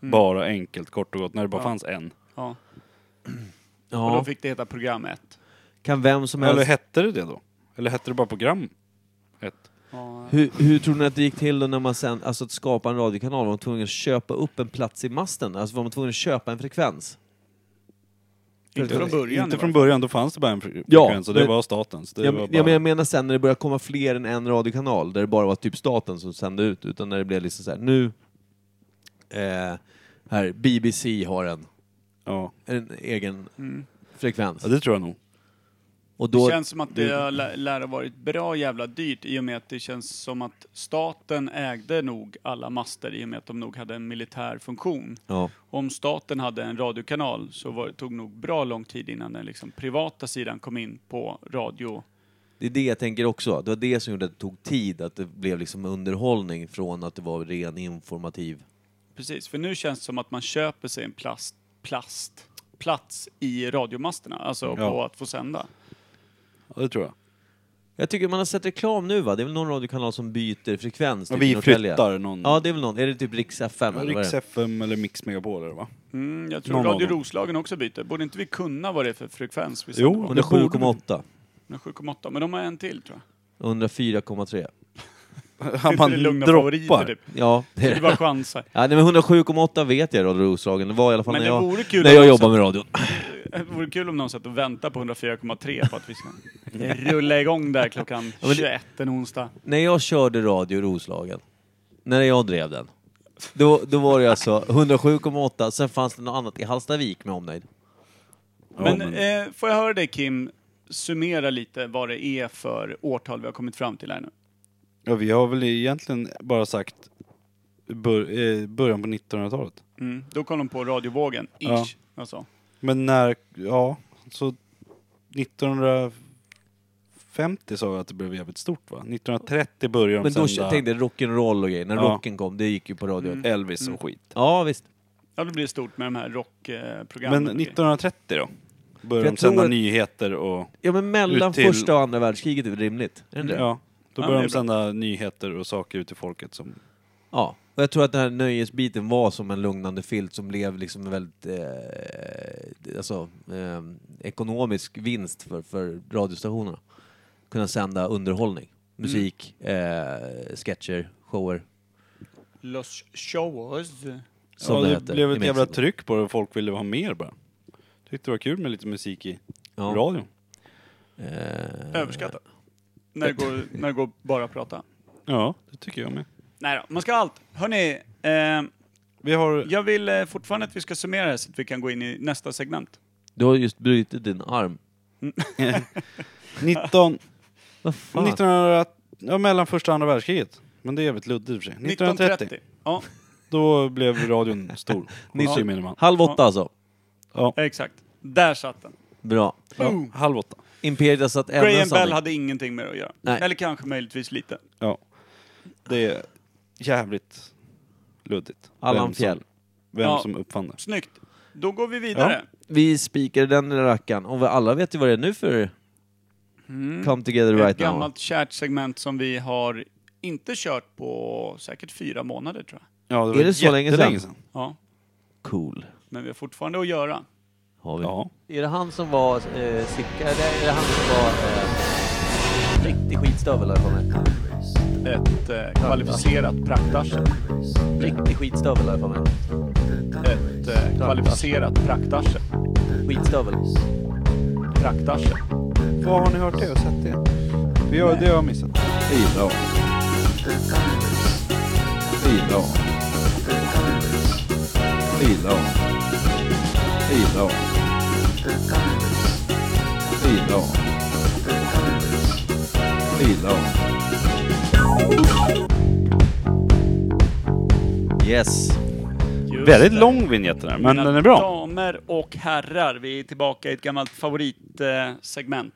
Bara enkelt, kort och gott, när det bara
Ja.
fanns en.
Ja. Och då
Ja,
fick det heta Program 1.
kan vem som
Eller
helst...
hette det det då? Eller hette det bara program? Ett.
Ja.
Hur, hur tror ni att det gick till då när man sen, alltså att skapa en radiokanal, var man tvungen att köpa upp en plats i masten? Alltså var man tvungen att köpa en frekvens?
Inte från början.
Inte
i
från
varje
början, då fanns det bara en fre-
Ja,
frekvens och det
men-
var statens. Det
Jag,
var bara...
ja, men jag menar sen när det började komma fler än en radiokanal, där det bara var typ staten som sände ut, utan när det blev liksom så här, nu... Eh, här, BBC har en,
ja.
en egen frekvens.
ja, det tror jag nog.
Och
fall.
då,
Mm. Det känns som att det lä- lär ha varit bra jävla dyrt i och med att det känns som att staten ägde nog alla master i och med att de nog hade en militär funktion.
ja.
Om staten hade en radiokanal så var, tog nog bra lång tid innan den liksom privata sidan kom in på radio.
Det är det jag tänker också. Det var det som gjorde att det tog tid, att det blev liksom underhållning från att det var ren informativ.
Precis, för nu känns det som att man köper sig en plast, plast plats i radiomasterna, alltså på att få sända.
Ja, det tror jag.
Jag tycker man har sett reklam nu va? Det är väl någon radiokanal som byter frekvens?
Ja,
typ
vi
i Norrtälje.
flyttar någon-
Ja, det är väl någon. Är det typ Rix FM? eller vad är
Rix
det?
FM eller Mix Megapol eller *laughs* va?
Mm, jag tror
Någon av
Radio
dem.
Roslagen också byter. Borde inte vi kunna vad det är för frekvens vi
Jo,
sänder på?
det borde
107,8.
107,8, men de har en till tror jag.
104,3.
Det är inte det lugna favoriter typ.
Ja, det
Det
är
är
*laughs*
det.
bara chanser.
Ja, nej, men 107,8 vet jag Radio Roslagen. Det var i alla fall
Men
när
det
jag,
vore kul
när
om
jag
de
jobbade
satt-
med radion.
Det vore kul om någon satt och väntade på 104,3 för att vi ska rulla igång där klockan
men det-
21 en onsdag.
när jag körde Radio Roslagen, när jag drev den, då, då var det alltså 107,8, sen fanns det något annat i Hallstavik med omnejd.
Men,
men-
Eh, får jag höra dig Kim, summera lite vad det är för årtal vi har kommit fram till här nu.
Ja, vi har väl egentligen bara sagt bör, eh, början på 1900-talet.
Mm. Då kom de på radiovågen, ish.
Ja.
Alltså.
Men när, ja, så 1950 sa vi att det blev jävligt stort va? 1930 började de
Men då
sända
tänkte jag rock'n'roll och grejer, när
Ja.
rocken kom, det gick ju på radio.
Mm.
Elvis och skit.
Ja visst.
Ja, då blir det stort med de här rockprogrammen.
Men 1930 då?
För
Började
jag
de sända
tror att-
nyheter och...
Ja men mellan
Ut till-
första och andra världskriget är det rimligt? Är det inte det?
Ja, då
Ja,
började
det är
de sända nyheter och saker ut till folket som...
ja. Och jag tror att den här nöjesbiten var som en lugnande filt som blev liksom en väldigt eh, alltså, eh, ekonomisk vinst för, för radiostationerna. Kunna sända underhållning,
Mm.
musik, eh, sketcher, shower.
Los shows.
Som
ja,
det,
det,
heter
blev
i
ett jävla
Mexiko.
tryck på det och folk ville ha mer bara. Tyckte det var kul med lite musik i
Ja.
radion.
Eh,
Överskattat. När det, går, när det går bara att prata.
Ja, det tycker jag med.
Nej då, man ska ha allt. Hörni, eh,
Vi har... *laughs*
jag vill eh, fortfarande att vi ska summera här så att vi kan gå in i nästa segment.
Du har just brutit din arm.
19...
Vad *laughs* fan?
1900, ja, mellan första och andra världskriget. Men det är jävligt luddigt i och för sig. 1930.
1930. Ja,
*laughs* Då blev radion stor. Hos gemene man.
Halv åtta alltså.
exakt. Där satt den.
Bra.
Ja, halv åtta.
Imperiet har satt ämnen
Graham
sanning.
Bell hade ingenting med det att göra.
Nej.
Eller kanske möjligtvis lite.
Ja. Det är jävligt luddigt.
Allan
Vem som-
Fjäll.
Vem
Ja.
som uppfann det.
Snyggt. Då går vi vidare.
Vi spikade den lilla rackaren och vi alla vet ju vad det är nu för Come Together
Mm. Ett
Right Now.
gammalt kärt segment som vi har inte kört på säkert fyra månader tror jag.
Ja,
Är det så länge sedan?
jättelänge sedan?
Ja,
Cool.
men vi har fortfarande att göra.
Har vi.
Ja.
Är det han som var eh, Sicka? Eller är det han som var... Eh, riktig skitstövel har jag för mig.
Ett eh, kvalificerat praktarsel.
Riktig skitstövel har jag för mig.
Ett eh, kvalificerat praktarsel.
Skitstövel.
Praktarsel.
Vad har ni hört det och sett det? Vi har, det har jag missat.
Idag. Idag. Idag. Idag. Idag. Idag.
Yes.
Just
Väldigt
det.
lång vignett den här, men
Mina
den är bra.
Damer och herrar, vi är tillbaka i ett gammalt favoritsegment. Eh, segment.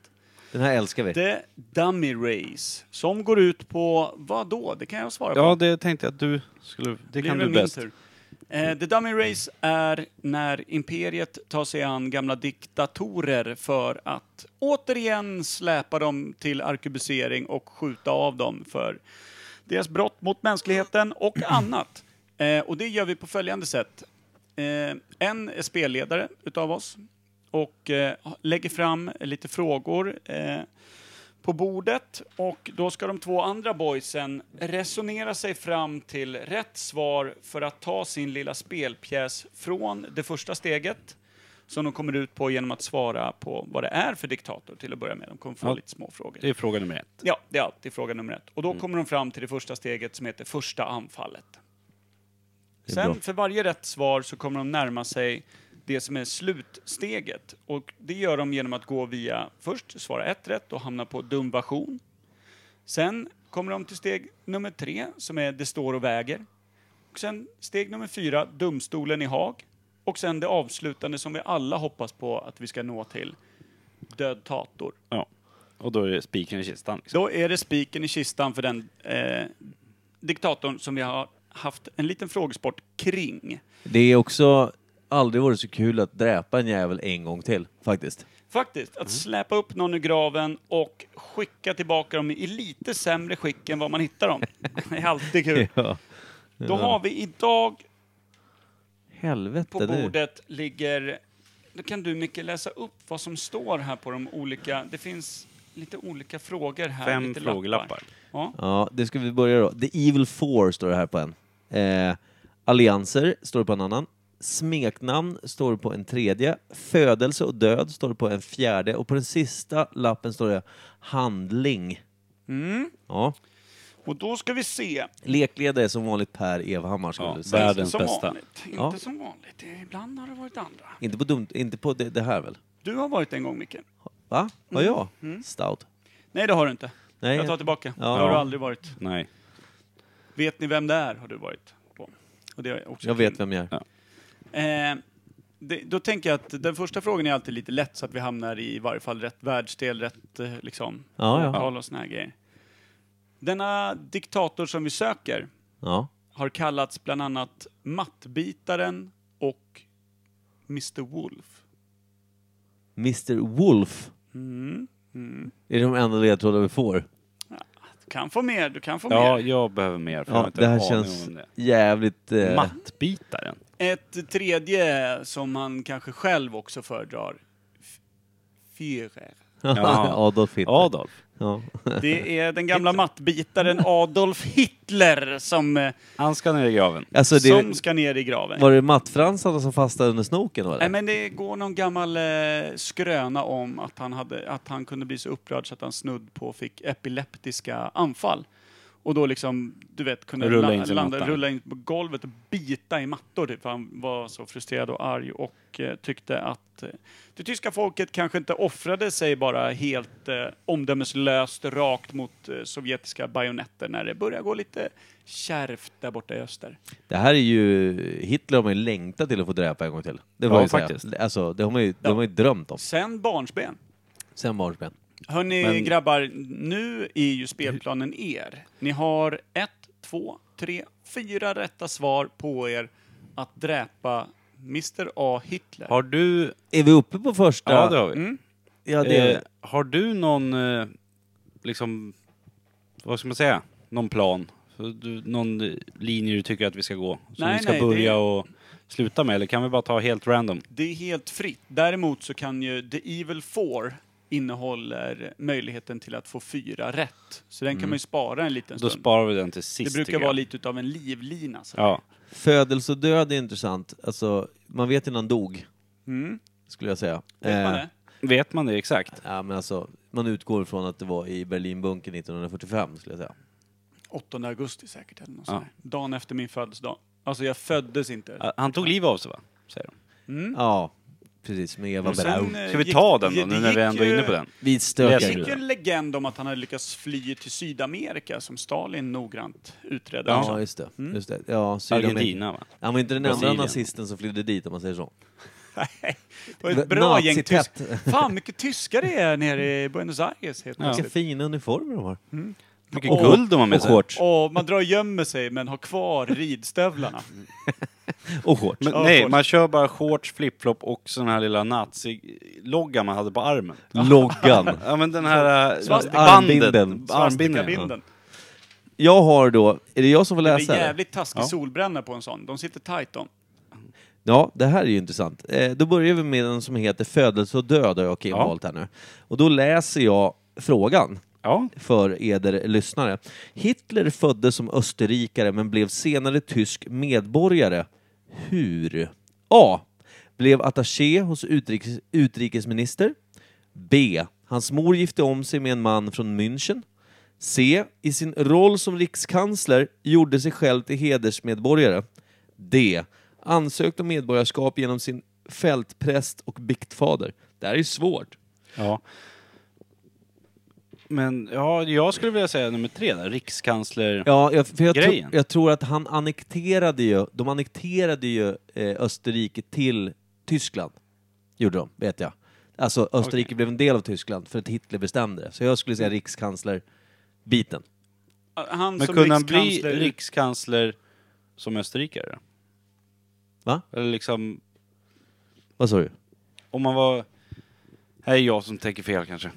Den här älskar vi.
The Dummy Race, som går ut på vad då? Det kan jag svara på.
Ja, det tänkte jag att du skulle... Det
Det
kan
är
du
väl min
bäst.
tur. Eh, The Dummy Race är när Imperiet tar sig an gamla diktatorer för att återigen släpa dem till arkebusering och skjuta av dem för deras brott mot mänskligheten
*clears throat*
och annat. Eh, och det gör vi på följande sätt. Eh, en är spelledare utav oss och eh, lägger fram lite frågor. Eh, på bordet och då ska de två andra boysen resonera sig fram till rätt svar för att ta sin lilla spelpjäs från det första steget som de kommer ut på genom att svara på vad det är för diktator till att börja med. De kommer få
Ja.
lite små frågor.
Det är fråga nummer ett.
Ja, det är alltid fråga nummer ett. Och då
Mm.
kommer de fram till det första steget som heter första anfallet.
är
Sen
bra.
för varje rätt svar så kommer de närma sig det som är slutsteget. Och det gör de genom att gå via först svara ett rätt och hamna på dum version. Sen kommer de till steg nummer tre som är det står och väger. Och sen steg nummer fyra, domstolen i Haag. Och sen det avslutande som vi alla hoppas på att vi ska nå till, död tator.
Ja. Och då är det spiken i kistan. Liksom.
Då är det spiken i kistan för den eh, diktatorn som vi har haft en liten frågesport kring.
Det är också aldrig varit så kul att dräpa en jävel en gång till faktiskt.
Faktiskt,
Mm.
att släpa upp någon ur graven och skicka tillbaka dem i lite sämre skick än vad man hittar dem. *laughs* Det är alltid
*laughs*
kul.
Ja.
Då har vi idag
*laughs* Helvete
på
nu.
bordet ligger... Då kan du Micke läsa upp vad som står här på de olika... Det finns lite olika frågor här.
Fem
lite
frågelappar.
Ja.
Ja, det ska vi börja då. The Evil Four står det här på en. Eh, allianser står det på en annan. Smeknamn står det på en tredje. Födelse och död står det på en fjärde. Och på den sista lappen står det handling.
Mm.
Ja.
Och då ska vi se.
Lekledare är som vanligt Per Evhammar skulle
Ja,
du säga.
värd- Världens
som
bästa.
Vanligt. Inte
Ja.
som vanligt. Ibland har det varit andra.
Inte på, dumt, inte på det, det här väl?
Du har varit en gång, Micke. Mm.
Va? Har jag? Stout.
Nej, det har du inte.
Nej,
jag tar
jag-
tillbaka.
Ja.
Det har du aldrig varit.
Nej.
Vet ni vem det är? Har du varit på. Och det har jag också
Jag vet vem jag är.
Ja.
Eh, det, då tänker jag att den första frågan är alltid lite lätt så att vi hamnar i, i varje fall rätt världsdel, rätt eh, liksom,
Ja, ja.
årtal och såna här grejer. Denna diktator som vi söker
Ja.
har kallats bland annat Mattbitaren och Mr Wolf. Mm.
Mr Wolf. Är det de enda ledtrådar vi får?
kan få mer, du kan få
Ja,
mer.
jag behöver mer. För jag har
Ja,
inte
det här
en aning
känns
om det.
jävligt... Eh, *laughs*
Mattbitaren.
Ett tredje som han kanske själv också föredrar. F- Führer.
Ja.
Adolf Hitler.
Adolf.
Ja.
Det är den gamla mattbitaren Adolf Hitler som, eh,
Han ska ner i graven.
Alltså, det,
som ska ner i graven.
Var det mattfransarna som fastnade under snoken? Var det?
Nej men det går någon gammal eh, skröna om att han, hade, att han kunde bli så upprörd så att han snudd på fick epileptiska anfall. Och då liksom, du vet, kunde
Rulla
la-
in sig i
landa,
mattan.
rulla in på golvet och bita i mattor typ, för han var så frustrerad och arg och eh, tyckte att eh, det tyska folket kanske inte offrade sig bara helt eh, omdömeslöst rakt mot eh, sovjetiska bajonetter när det började gå lite kärvt där borta i öster.
Det här är ju... Hitler har man ju längtat till att få dräpa en gång till. Det var
Ja,
ju så här-
faktiskt.
Alltså, det har man ju, det har man ju drömt om
Sen barnsben.
sen barnsben.
Hörni
Men-
grabbar, nu är ju spelplanen er. Ni har ett, två, tre, fyra rätta svar på er att dräpa Mr A Hitler.
Har du...
Är vi uppe på första?
Ja, det har vi.
Ja, det är...
Eh, har du någon, eh, liksom, vad ska man säga, någon plan? Så Du, någon eh, linje du tycker att vi ska gå? Som
Nej,
vi ska
nej,
börja
det-
och sluta med? Eller kan vi bara ta helt random?
Det är helt fritt. Däremot så kan ju The Evil Four innehåller möjligheten till att få fyra rätt. Så den kan man ju spara en liten
Mm. Då
stund.
sparar vi den till sist.
Det brukar
tycker
vara
jag.
lite utav en livlina. Så.
Ja.
Födelse och död är intressant. Alltså, man vet innan dog,
Mm.
skulle jag säga. Eh,
Vet
eh,
man det?
Vet man det exakt?
Ja, men alltså, man utgår från att det var i Berlinbunkern 1945, skulle jag säga.
8 augusti säkert, eller något
Ja.
sånt där. Dagen efter min födelsedag. Alltså jag föddes inte.
Ah, Han tog liv av sig va? Säger de. Mm.
Ja, precis. Med Eva
Och sen,
Braun.
eh,
Ska vi
gick-
ta den
det
då, nu när vi
gick
ändå är
ju-
inne på den?
Vi
Det
Läser
stökar.
du?
gick ju en legend om att han hade lyckats fly till Sydamerika som Stalin noggrant utredde.
Ja,
också.
just det. Just det. Ja, Sydamerika.
Argentina va?
Han var inte den enda
Brasilien.
nazisten som flydde dit, om man säger så.
*laughs* Det var ett bra gäng tysk... Fan, mycket tyskar det är nere i Buenos Aires helt
Ja.
Vilka
plötsligt.
fina uniformer de har.
Mycket
Och-
guld de har med
Och
sig.
shorts.
Och man drar och gömmer sig men har kvar ridstövlarna.
Och shorts.
Men,
Ja,
nej,
shorts.
man kör bara shorts, flipflop och sån här lilla nazi-loggan man hade på armen. *laughs*
Loggan.
Ja men den här eh,
Svastika.
bandet,
Armbinden.
armbinden. *laughs* ja.
Svastikabinden.
Jag har då... Är det jag som får
Det
läsa?
är
eller?
jävligt taskig
Ja.
solbränna på en sån. De sitter tight om.
Ja, det här är ju intressant. Eh, då börjar vi med den som heter Födelse och död, har jag och Kim
Ja.
valt här nu. Och då läser jag frågan.
Ja,
för eder lyssnare. Hitler föddes som österrikare men blev senare tysk medborgare. Hur? A. Blev attaché hos utrikes, utrikesminister. B. Hans mor gifte om sig med en man från München. C. I sin roll som rikskansler gjorde sig själv till hedersmedborgare. D. Ansökte om medborgarskap genom sin fältpräst och biktfader. Det här är ju svårt.
ja. Men ja, jag skulle vilja säga nummer tre där, rikskansler.
Ja, jag, för jag, tro,
Grejen.
jag tror att han annekterade ju, de annekterade ju eh, Österrike till Tyskland. Gjorde de, vet jag. Alltså Österrike
Okej.
blev en del av Tyskland för att Hitler bestämde det. Så jag skulle säga rikskansler-biten.
Han
Men
som
kunde han bli
rikskansler-
rikskansler som österrikare?
Va?
Eller liksom,
Vad sa du?
om man var... Här är jag som tänker fel kanske.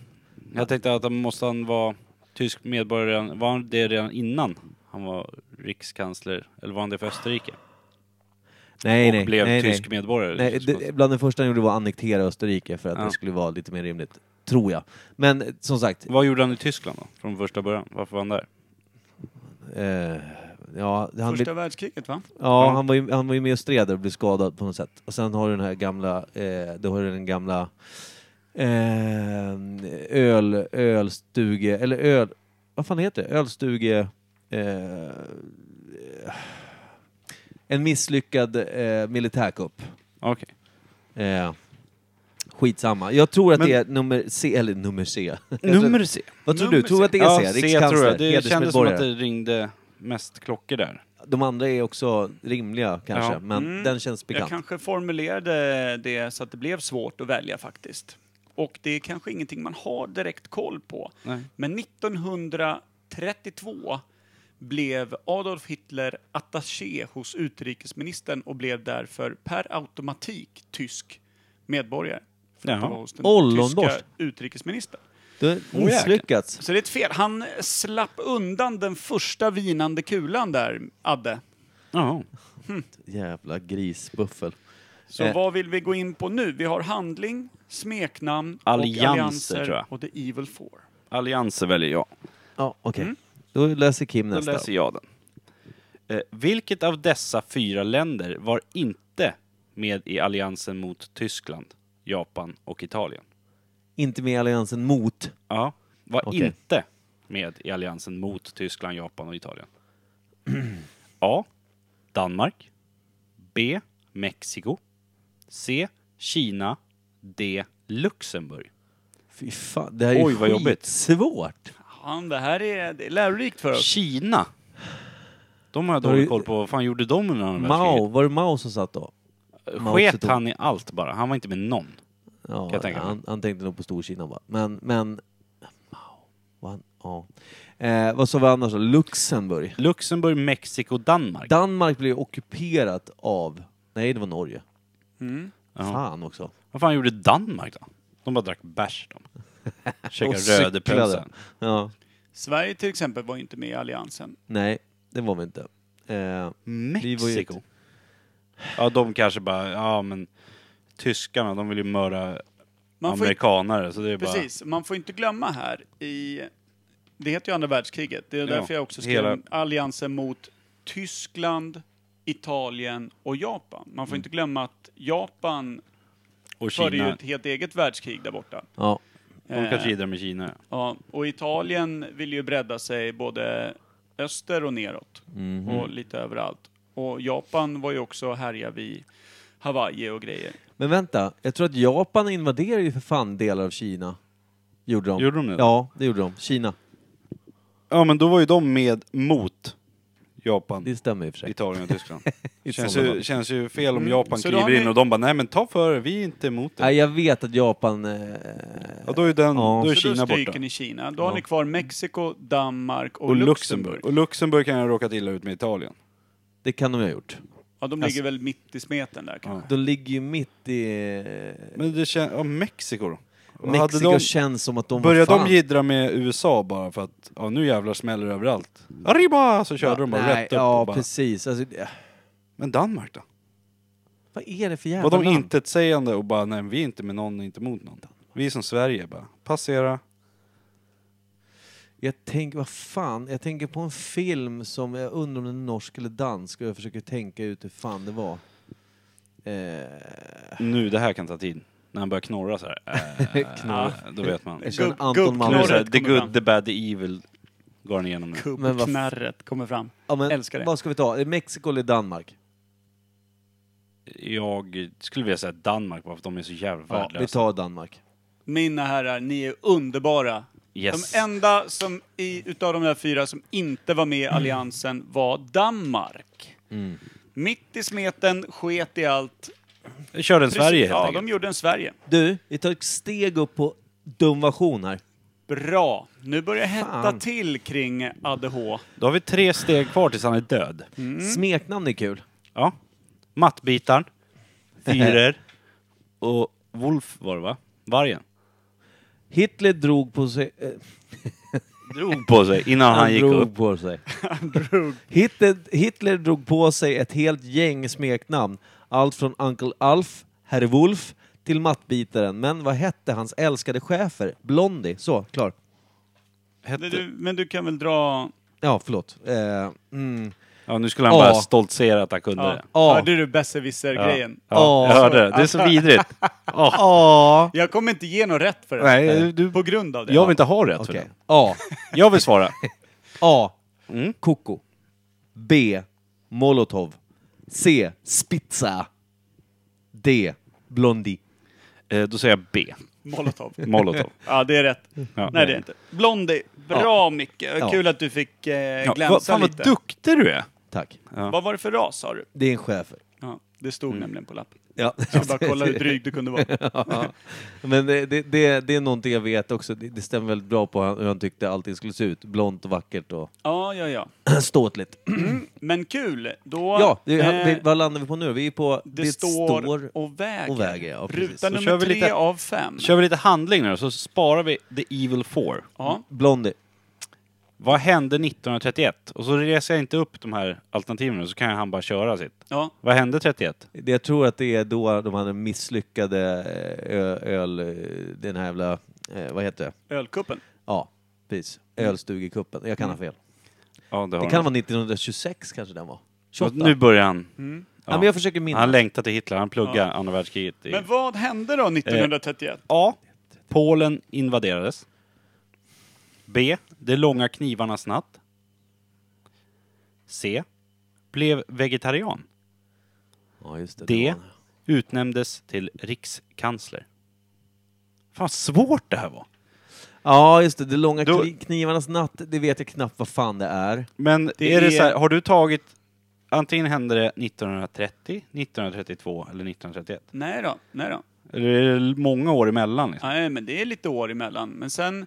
Jag tänkte att han måste han vara tysk medborgare, redan- var han det redan innan han var rikskansler? Eller var han det för Österrike?
Nej,
och
nej.
blev
nej,
tysk medborgare?
nej. nej
Liksom.
det, bland det första han gjorde var att annektera Österrike för att
Ja.
det skulle vara lite mer rimligt. Tror jag. Men eh, som sagt,
Vad gjorde han i Tyskland då, från första början? Varför var han där?
eh, ja, han,
Första världskriget va?
Ja,
Ja.
Han, var ju, han var ju med och stred där och blev skadad på något sätt. Och sen har du den här gamla, eh, då har du den gamla eh, öl, ölstuge, eller öl, vad fan heter det? Ölstuge... Eh, en misslyckad eh, militärkupp.
Okej.
Eh, skitsamma. Jag tror att
Men-
det är nummer C, eller nummer C.
Nummer C.
vad tror du?
Nummer
Tror du
C.
att det är
Ja,
C?
C tror jag.
Rikskansler,
Det kändes som att
hedersmedborgare.
det ringde mest klockor där.
De andra är också rimliga kanske,
Ja.
men
Mm.
den känns
Jag
bekant.
kanske formulerade det så att det blev svårt att välja faktiskt. Och det är kanske ingenting man har direkt koll på.
Nej.
Men 1932 blev Adolf Hitler attaché hos utrikesministern och blev därför per automatik tysk medborgare. För att
Jaha.
det var hos den
Ollonborst.
tyska utrikesministern.
Du har misslyckats.
Så det är ett fel. Han slapp undan den första vinande kulan där, Adde.
Jaha.
Jävla grisbuffel.
Så
Eh.
vad vill vi gå in på nu? Vi har handling, smeknamn
Allianser,
och allianser
tror jag.
och The Evil Four.
Allianser väljer jag.
Ja, okej. Då läser Kim
Mm. Då
nästa.
läser jag den. Eh, vilket av dessa fyra länder var inte med i alliansen mot Tyskland, Japan och Italien?
Inte med i alliansen mot.
Ja, var
Okej.
inte med i alliansen mot Tyskland, Japan och Italien. *clears throat* A. Danmark. B. Mexiko. C. Kina. D. Luxemburg.
Fy fan, det här är
Oj,
ju
vad jobbigt.
svårt.
Han, det här är, det är lärorikt för oss.
Kina! De har jag
Då är
dålig
det-
koll på. Vad fan gjorde de under andra
Mao, var det Mao som satt då? Mao
Sket
Zedong.
han i allt bara. Han var inte med någon.
Ja,
jag tänka mig.
han, han tänkte nog på Storkina bara. Men, men... Mao, var han- Ja. Eh, vad sa vi annars då? Luxemburg?
Luxemburg, Mexiko, Danmark.
Danmark blev ju ockuperat av... Nej, det var Norge.
Ja.
Fan också.
Vad fan gjorde Danmark då? De bara drack bärs
*laughs*
de.
Och
Käkade
cyklade.
rödepölsen.
Ja.
Sverige till exempel var ju inte med i alliansen.
Nej, det var vi inte. Eh, Vi var ju
Mexiko?
ett-
Ja, de kanske bara, ja men tyskarna, de vill ju mörda
Man får, ju-
amerikanare så det är bara...
precis, man får inte glömma här i... Det heter ju andra världskriget. Det är därför jag också skrev
hela-
om alliansen mot Tyskland, Italien och Japan. Man
Mm.
får inte glömma att Japan
Och
förde ju Eh.
Kina,
ett helt eget världskrig där borta.
ja.
de kanske gidrar med Kina.
Ja, och Italien vill ju bredda sig både öster och neråt och lite överallt. Och Japan var ju också härja vid Hawaii och grejer.
Men vänta, jag tror att Japan invaderade ju för fan delar av Kina. Gjorde de.
Gjorde de det?
Ja, det gjorde de. Kina.
Ja men då var ju de med mot Japan,
Det stämmer i och för sig.
Italien och
*laughs*
Tyskland.
I
känns,
sådana
ju,
fall.
känns ju fel om Japan
Mm. Så då har
kliver
ni-
in och de bara, nej men ta för er, vi är inte emot det.
Nej, jag vet att Japan... Eh,
Ja, då är, den,
Ja.
då är
Så
Kina
då stryker
borta.
ni Kina. Då har ni kvar Mexiko, Danmark och,
Och
Luxemburg.
Luxemburg. Och Luxemburg kan jag ha råkat illa ut med Italien.
det kan de ju ha gjort.
Ja, de
alltså-
ligger väl mitt i smeten där kanske.
De ligger ju mitt i... eh,
Men det känns, ja Mexiko då? Hade
Mexiko
de-
känns som att de...
Började
var
de
fan-
jiddra med USA bara för att ja, nu jävlar smäller det överallt? Arriba! Så körde de bara
Nej,
rätt upp
Ja,
och bara,
precis. Alltså, det-
Men Danmark då?
vad är det för jävla
Var de
land?
intetsägande och bara nej vi är inte med någon och inte mot någon? Vi är som Sverige bara, passera.
Jag tänker, vad fan, jag tänker på en film som, jag undrar om den är norsk eller dansk och jag försöker tänka ut hur fan det var. Eh, *laughs*
Nu, det här kan ta tid. När han börjar knorra så här. eh,
Knorr.
*laughs* ja, då vet man. Nu
Jag känner
Gubb-
Anton
är det
gubbknorret
så här, the
kommer
good,
fram.
the bad, the evil går han igenom nu.
Men vad-
Gubbknarret kommer fram.
ja, men,
Älskar det.
Vad ska vi ta? Är det Mexiko eller Danmark?
Jag skulle vilja säga Danmark bara för de är så jävla
Ja, vi
värdelösa.
tar Danmark.
Mina herrar, ni är underbara.
Yes.
De enda som i, utav de där fyra som inte var med i alliansen var Danmark.
Mm.
Mitt i smeten, sket i allt.
Kör en Sverige helt
Ja,
enkelt.
de gjorde en Sverige.
Du, vi tar ett steg upp på dumversion här.
Bra. Nu börjar jag hetta
Fan.
till kring ADH.
Då har vi tre steg kvar tills han är död.
Mm.
Smeknamn är kul.
Ja. Mattbitaren, *laughs* Führer och Wolf var det va? Vargen.
Hitler drog på sig... eh,
Drog på sig innan han gick
drog
upp.
på sig. *laughs* Hitler, Hitler drog på sig ett helt gäng smeknamn. Allt från Uncle Alf, Herr Wolf, till mattbitaren. Men vad hette hans älskade chefer? Blondie. Så, klar.
Men du, men du kan väl dra...
Ja, förlåt. Eh, mm.
Ja, nu skulle han bara
Ja.
stoltsera att han kunde
Ja.
det.
Ja.
Hörde du besserwisser-grejen?
Ja, jag
Ja.
hörde det. Det är så *laughs* vidrigt. Ja.
A.
Jag kommer inte ge något rätt för det.
Nej, du,
På grund av det.
jag vill inte ha rätt för
Okej.
det.
A.
Jag vill *laughs* svara.
A.
Mm.
Koko. B. Molotov. C. Spitza. D. Blondie.
Eh, Då säger jag B.
Molotov.
Molotov.
Ja, det är rätt.
Ja.
Nej, det är inte. Blondie. Bra, Micke. Kul att du fick eh, glänsa
Vad- Fan vad
lite.
duktig du är!
Tack.
Vad var det för ras, sa du?
Det är en schäfer.
Ja. Det stod nämligen på lappen.
Mm. *laughs* Ja.
Så jag bara kolla hur dryg du kunde vara.
*laughs* Ja. Men det, det, det, det är någonting jag vet också, det, det stämmer väldigt bra på hur han tyckte allting skulle se ut. Blont och vackert och *clears throat*
Ja, ja, ja.
ståtligt.
Men kul! Då,
Ja, det, han-
eh,
vi, vad landar vi på nu? Vi är på
det, står, och väger.
och väger, ja, precis.
Ruta
Så
nummer
kör vi
tre
lite-
av fem.
Kör vi lite handling nu då, så sparar vi The Evil Four.
Ja.
Blondie.
Vad hände 1931? Och så reser jag inte upp de här alternativen så kan han bara köra sitt.
ja.
Vad hände 31?
Det, jag tror att det är då de hade misslyckade eh, ö, öl... eh, Den här jävla... Eh, vad heter det?
Ölkuppen.
Ja, precis. Ölstugekuppen. Jag kan ha fel.
Ja, det har
Det kan vara 1926 kanske den var. 28.
Nu börjar han.
ja. men jag försöker minnas.
Han längtar till Hitler, han pluggar andra världskriget. I...
Men vad hände
Eh.
då 1931?
A. Polen invaderades. B. De långa knivarnas natt. C. Blev vegetarian.
Ja, just det.
D.
det var-
Utnämndes till rikskansler. Fan svårt det här var.
Ja, just det. Det långa
Då-
kni- knivarnas natt, det vet jag knappt vad fan det är.
Men
Det
är
är-
det så här, har du tagit... Antingen hände det 1930, 1932 eller 1931.
Nej då, nej då.
Eller är det många år emellan? Liksom?
Nej, men det är lite år emellan. Men sen,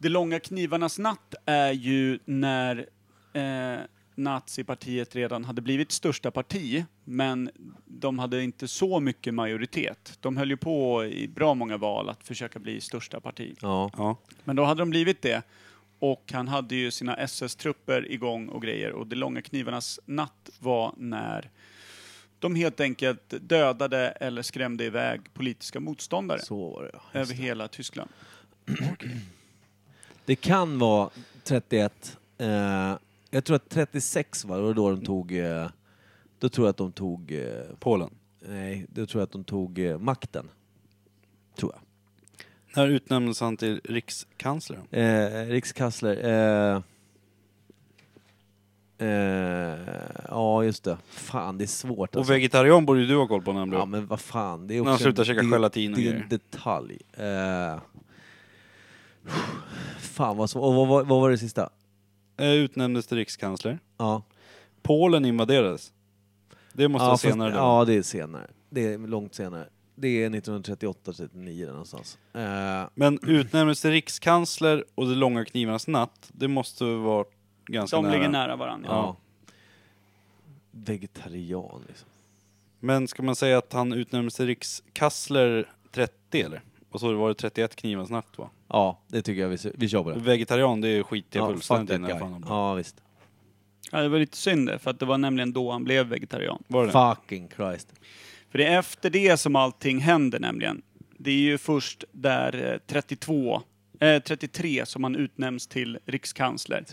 Det långa knivarnas natt är ju när eh, nazipartiet redan hade blivit största parti, men de hade inte så mycket majoritet. De höll ju på i bra många val att försöka bli största parti.
Ja.
Ja.
Men då hade de blivit det. Och han hade ju sina SS-trupper igång och grejer. Och Det långa knivarnas natt var när de helt enkelt dödade eller skrämde iväg politiska motståndare
Så var det. ja.
över hela Tyskland.
Det kan vara 31. Eh, jag tror att 36 var det var då de tog... Eh, då tror jag att de tog... Eh,
Polen.
nej, då tror jag att de tog eh, makten. Tror jag.
När utnämndes han till rikskansler?
Eh, Rikskansler. Eh, eh, ja, just det. Fan, det är svårt
Och
alltså.
vegetarian borde ju du ha koll på när han blev...
Ja, men vad fan. Det är
När
också
han slutar käka
det, är-
gelatin och
Det är
grejer.
en detalj. Eh, fan vad svårt. Och vad, vad, vad var det sista?
Eh, Utnämndes till rikskansler.
Ja.
Polen invaderades. Det måste
ja,
vara
fast-
senare. då.
Ja, det är senare. Det är långt senare. Det är 1938-39 där någonstans. Eh,
Men utnämndes till rikskansler och De långa knivarnas natt, det måste vara ganska
De
nära.
ligger nära varandra.
ja. Vegetarian liksom.
Men ska man säga att han utnämndes till rikskansler 30 eller? Och så var det 31 knivarnas natt va?
Ja, det tycker jag vi, s- vi kör på det.
Vegetarian, det skiter jag
ja, fuck
fullständigt i.
that
när jag
guy.
fan har-
Ja, visst.
Ja, det var lite synd det, för att det var nämligen då han blev vegetarian.
Var det?
Fucking Christ.
För det är efter det som allting händer nämligen. Det är ju först där eh, 32, eh, 33 som han utnämns till rikskansler.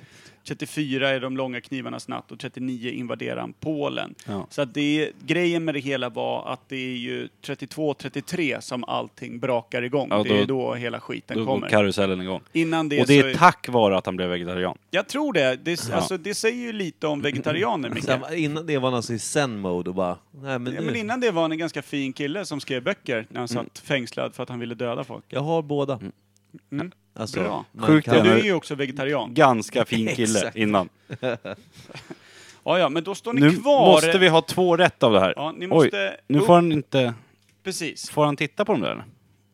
34 är de långa knivarnas natt och 39 invaderar han Polen.
Ja.
Så att det, grejen med det hela var att det är ju 32-33 som allting brakar igång.
Ja,
det är
då-
ju då hela skiten
Då går
kommer.
karusellen igång.
Innan det,
och det
så
är tack vare att han blev vegetarian.
Jag tror det. Det, s- alltså, det säger ju lite om vegetarianer,
*clears throat*
Micke.
Sen, innan det var han alltså i zen-mode och bara... Nej, men
Ja,
nu,
men innan det var han en ganska fin kille som skrev böcker
Mm.
när han satt fängslad för att han ville döda folk.
Jag har båda.
Mm.
Alltså,
Bra.
man
Sjukt
Du
Ja,
kan,
men-
är ju också vegetarian. *laughs*
Ganska fin kille
Exakt.
innan.
Ja, ja, men då står ni
Nu
kvar.
måste vi ha två rätt av det här.
Ja, ni måste...
Oj, nu får han inte...
Precis.
Får han titta på dem där eller?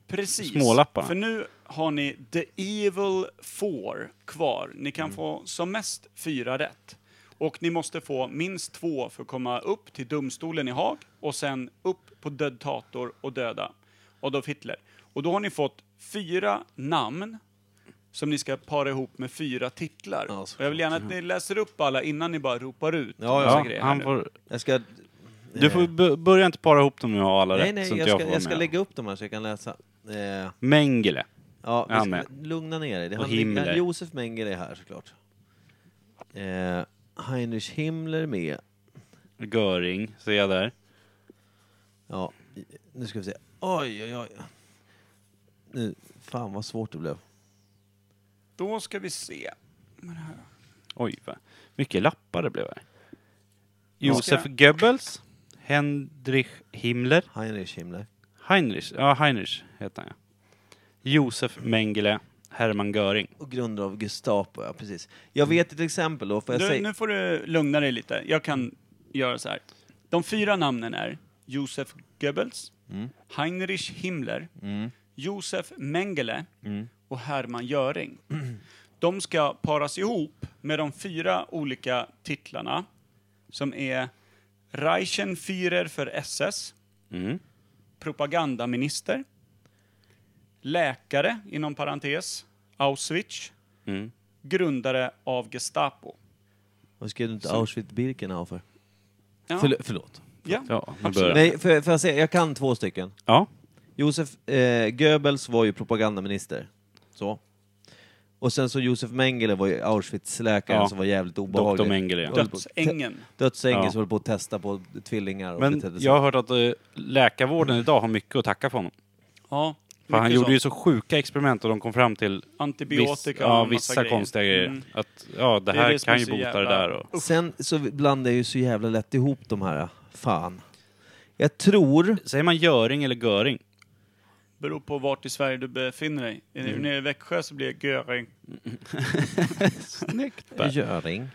Precis.
Smålapparna.
För nu har ni The Evil Four kvar. Ni
Mm.
kan få som mest fyra rätt. Och ni måste få minst två för att komma upp till domstolen i Haag och sen upp på Dödtator och döda Adolf Hitler. Och då har ni fått fyra namn som ni ska para ihop med fyra titlar.
Ja,
och jag vill gärna att ni läser upp alla innan ni bara ropar ut.
Ja,
massa
Ja,
grejer här
han
nu.
får...
jag ska... eh,
Du får b- börja inte para ihop dem nu och ha alla
Nej,
rätt
nej,
så
jag
inte
ska,
får
jag ska
med.
lägga upp de här så jag kan läsa. Eh,
Mengele.
Ja, vi
Han
ska
med.
lugna ner dig. Det
Och
handlar-
Himmler.
Josef Mengele är här såklart. Eh, Heinrich Himmler med.
Göring, ser jag där.
Ja, i- nu ska vi se. Oj, oj, oj. Nu, fan vad svårt det blev.
Då ska vi se.
Oj, vad mycket lappar det blev här.
ska
Josef
jag-
Goebbels. Hendrich Himmler.
Heinrich Himmler.
Heinrich, ja Heinrich heter han ja. Josef Mengele. Hermann Göring.
Och grundare av Gestapo, ja precis. Jag vet ett exempel då, får jag
Du,
säga?
nu får du lugna dig lite. Jag kan göra så här. De fyra namnen är Josef Goebbels, Heinrich Himmler, Josef Mengele och Hermann Göring. De ska paras ihop med de fyra olika titlarna som är Reichenführer för SS,
Mm.
propagandaminister, läkare inom parentes, Auschwitz,
Mm.
grundare av Gestapo.
Vad skrev du inte Auschwitz-Birkenau för?
Ja,
Förl- förlåt.
ja.
Ja, nu
Absolut.
börjar det.
Nej, för, för jag, säga, jag kan två stycken.
Ja.
Josef eh, Goebbels var ju propagandaminister. Så. Och sen så Josef Mengele var ju Auschwitz-läkaren
Ja.
som var jävligt obehaglig.
Dr. Mengele, ja.
Död-
Dödsängen.
Dödsängen
Ja.
som höll på att testa på tvillingar. Och
Men
betedde sig.
jag har hört att eh, läkarvården idag har mycket att tacka för honom.
Ja,
För han
mycket
gjorde
så.
ju så sjuka experiment och de kom fram till viss,
Antibiotika och
ja,
en massa
vissa konstiga grejer.
Mm.
Att ja, det
Det är
här
det som
kan
är
ju
så
bota det
jävla-
där. Och,
Sen så blandar jag ju så jävla lätt ihop de här. Fan. Jag tror...
säger man Göring eller Göring?
Beror på vart i Sverige du befinner dig. Är
Mm.
du nere i Växjö så blir det Göring.
Snyggt!
Göring.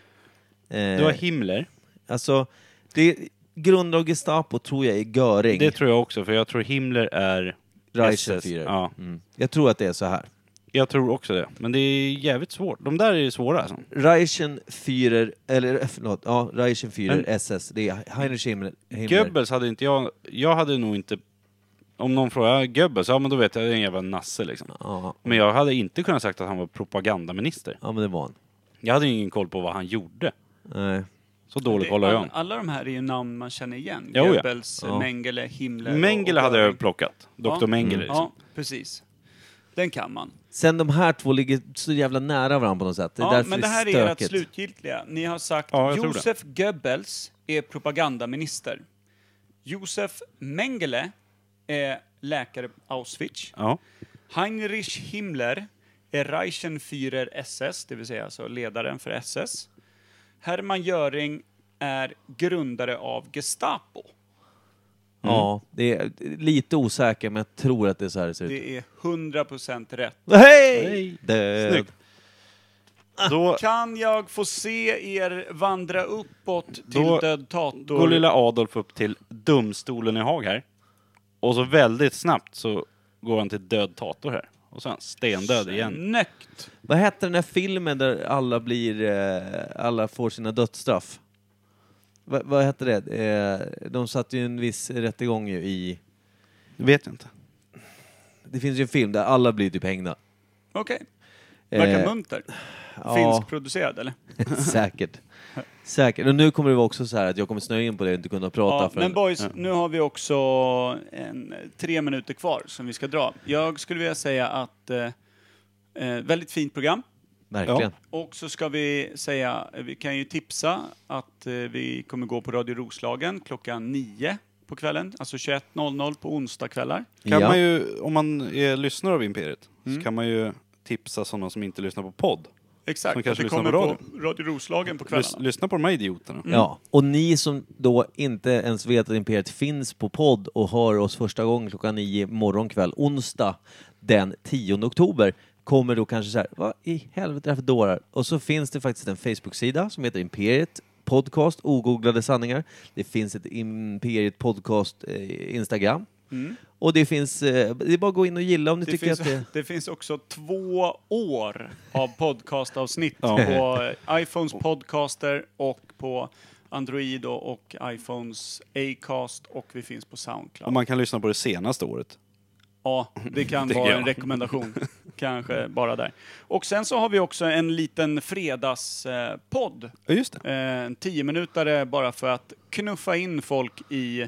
Du har
Eh,
Himmler.
alltså, det, grundare av Gestapo tror jag är Göring.
Det tror jag också, för jag tror Himmler är... SS.
Reichenführer.
Ja,
Mm. Jag tror att det är så här.
jag tror också det. Men det är jävligt svårt. De där är ju svåra alltså.
Reichenführer, eller eh, förlåt, ja,
Men-
Reichenführer, SS, det är Heinrich Himmler. Himmler.
Goebbels hade inte jag... Jag hade nog inte... Om någon frågar Goebbels, ja men då vet jag, det är en jävla nasse liksom.
Ja,
Men jag hade inte kunnat sagt att han var propagandaminister.
ja, men det var han.
Jag hade ju ingen koll på vad han gjorde.
Nej.
Så dålig
Det-
koll har
all-
jag.
Alla de här är ju namn man känner igen.
Jo, ja.
Goebbels,
Ja.
Mengele, Himmler och-
Mengele
och
hade jag
Göring.
plockat. Dr.
Ja. Mm.
Mengele liksom.
Ja, precis. Den kan man.
Sen de här två ligger så jävla nära varandra på något sätt. Det är
Ja,
därför
men det
det är
här är ert
stökigt.
slutgiltiga. Ni har sagt
Ja, jag tror det.
Josef Goebbels är propagandaminister. Josef Mengele är läkare på Auschwitz.
Ja.
Heinrich Himmler är Reichenführer SS, det vill säga alltså ledaren för SS. Hermann Göring är grundare av Gestapo.
Ja, det är lite osäker, men jag tror att det är så här det ser ut.
Det är 100% rätt.
Hej! Död.
Snyggt. Då
Kan jag få se er vandra uppåt till
Då
död tator?
går lilla Adolf upp till domstolen i Haag här. Och så väldigt snabbt så går han till död tator här. Och så är han stendöd igen.
Snyggt.
Vad hette den här filmen där alla blir, eh, alla får sina dödsstraff? Va, vad hette det? Eh, de satte ju en viss rättegång ju i...
Vet jag inte.
Det finns ju en film där alla blir typ hängda.
Okej. Verkar
Eh,
munter.
ja.
Finskproducerad, eller?
*laughs* Säkert. Säkert. Och nu kommer det vara också så här att jag kommer snöa in på det och inte kunna prata
Ja,
förrän...
men boys, nu har vi också en, tre minuter kvar som vi ska dra. Jag skulle vilja säga att eh, eh, väldigt fint program.
Verkligen.
Och så ska vi säga, eh, vi kan ju tipsa att eh, vi kommer gå på Radio Roslagen klockan 9 på kvällen, alltså 21.00 på onsdagskvällar.
Kan
Ja.
man ju, om man är lyssnare av Imperiet, så kan man ju tipsa sådana som inte lyssnar på podd.
Exakt,
Som kanske
att vi
lyssnar
kommer
på
på Radio Roslagen på
Lys,
kvällarna.
lyssna på de här idioterna.
Mm. Ja, och ni som då inte ens vet att Imperiet finns på podd och hör oss första gången klockan nio morgon kväll, onsdag den 10 oktober, kommer då kanske så här, vad i helvete är det här för dårar? Och så finns det faktiskt en Facebook-sida som heter Imperiet Podcast, ogooglade sanningar. Det finns ett Imperiet Podcast eh, Instagram. Och det finns, eh, det är bara att gå in och gilla om ni
Det
tycker
finns,
att det...
*laughs* det finns också två år av podcastavsnitt på eh, iPhones podcaster och på Android och, och iPhones Acast och vi finns på Soundcloud.
Och man kan lyssna på det senaste året.
Ja, det kan
Det
vara
kan
en
jag.
rekommendation. Kanske bara där. Och sen så har vi också en liten fredagspodd.
Ja, just det.
Eh, En tiominutare bara för att knuffa in folk i,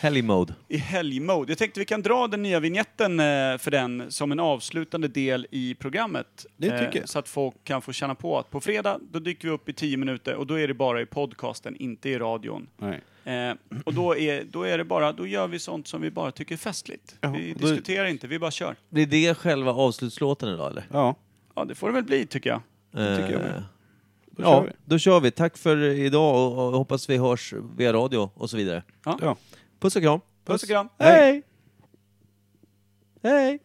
Helgmode.
i helgmode. Jag tänkte vi kan dra den nya vignetten eh, för den som en avslutande del i programmet.
Det
Eh,
tycker jag.
Så att folk kan få känna på att på fredag, då dyker vi upp i tio minuter och då är det bara i podcasten, inte i radion.
Nej.
Eh, och då är, då är det bara, då gör vi sånt som vi bara tycker är festligt.
Ja,
vi
då-
diskuterar inte, vi bara kör.
Blir det själva avslutslåten idag eller?
Ja,
Ja, det får det väl bli tycker jag.
tycker jag med.
Eh,
då
ja,
kör vi.
då kör vi. Tack för idag och, och hoppas vi hörs via radio och så vidare.
Ja.
Puss och kram.
Puss och kram.
Hej! Hej!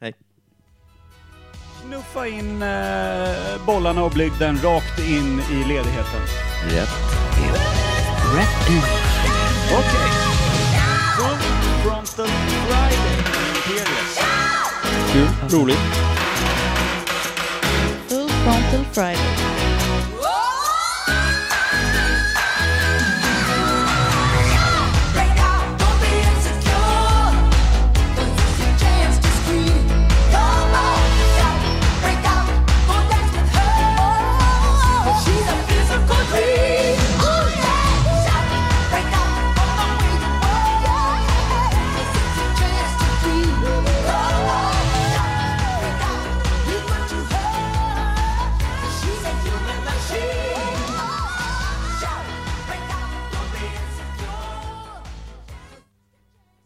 Hej.
Knuffa in eh, bollarna och blygden rakt in i ledigheten.
Rätt.
Rätt ut.
Roligt.
Full Frontal Friday.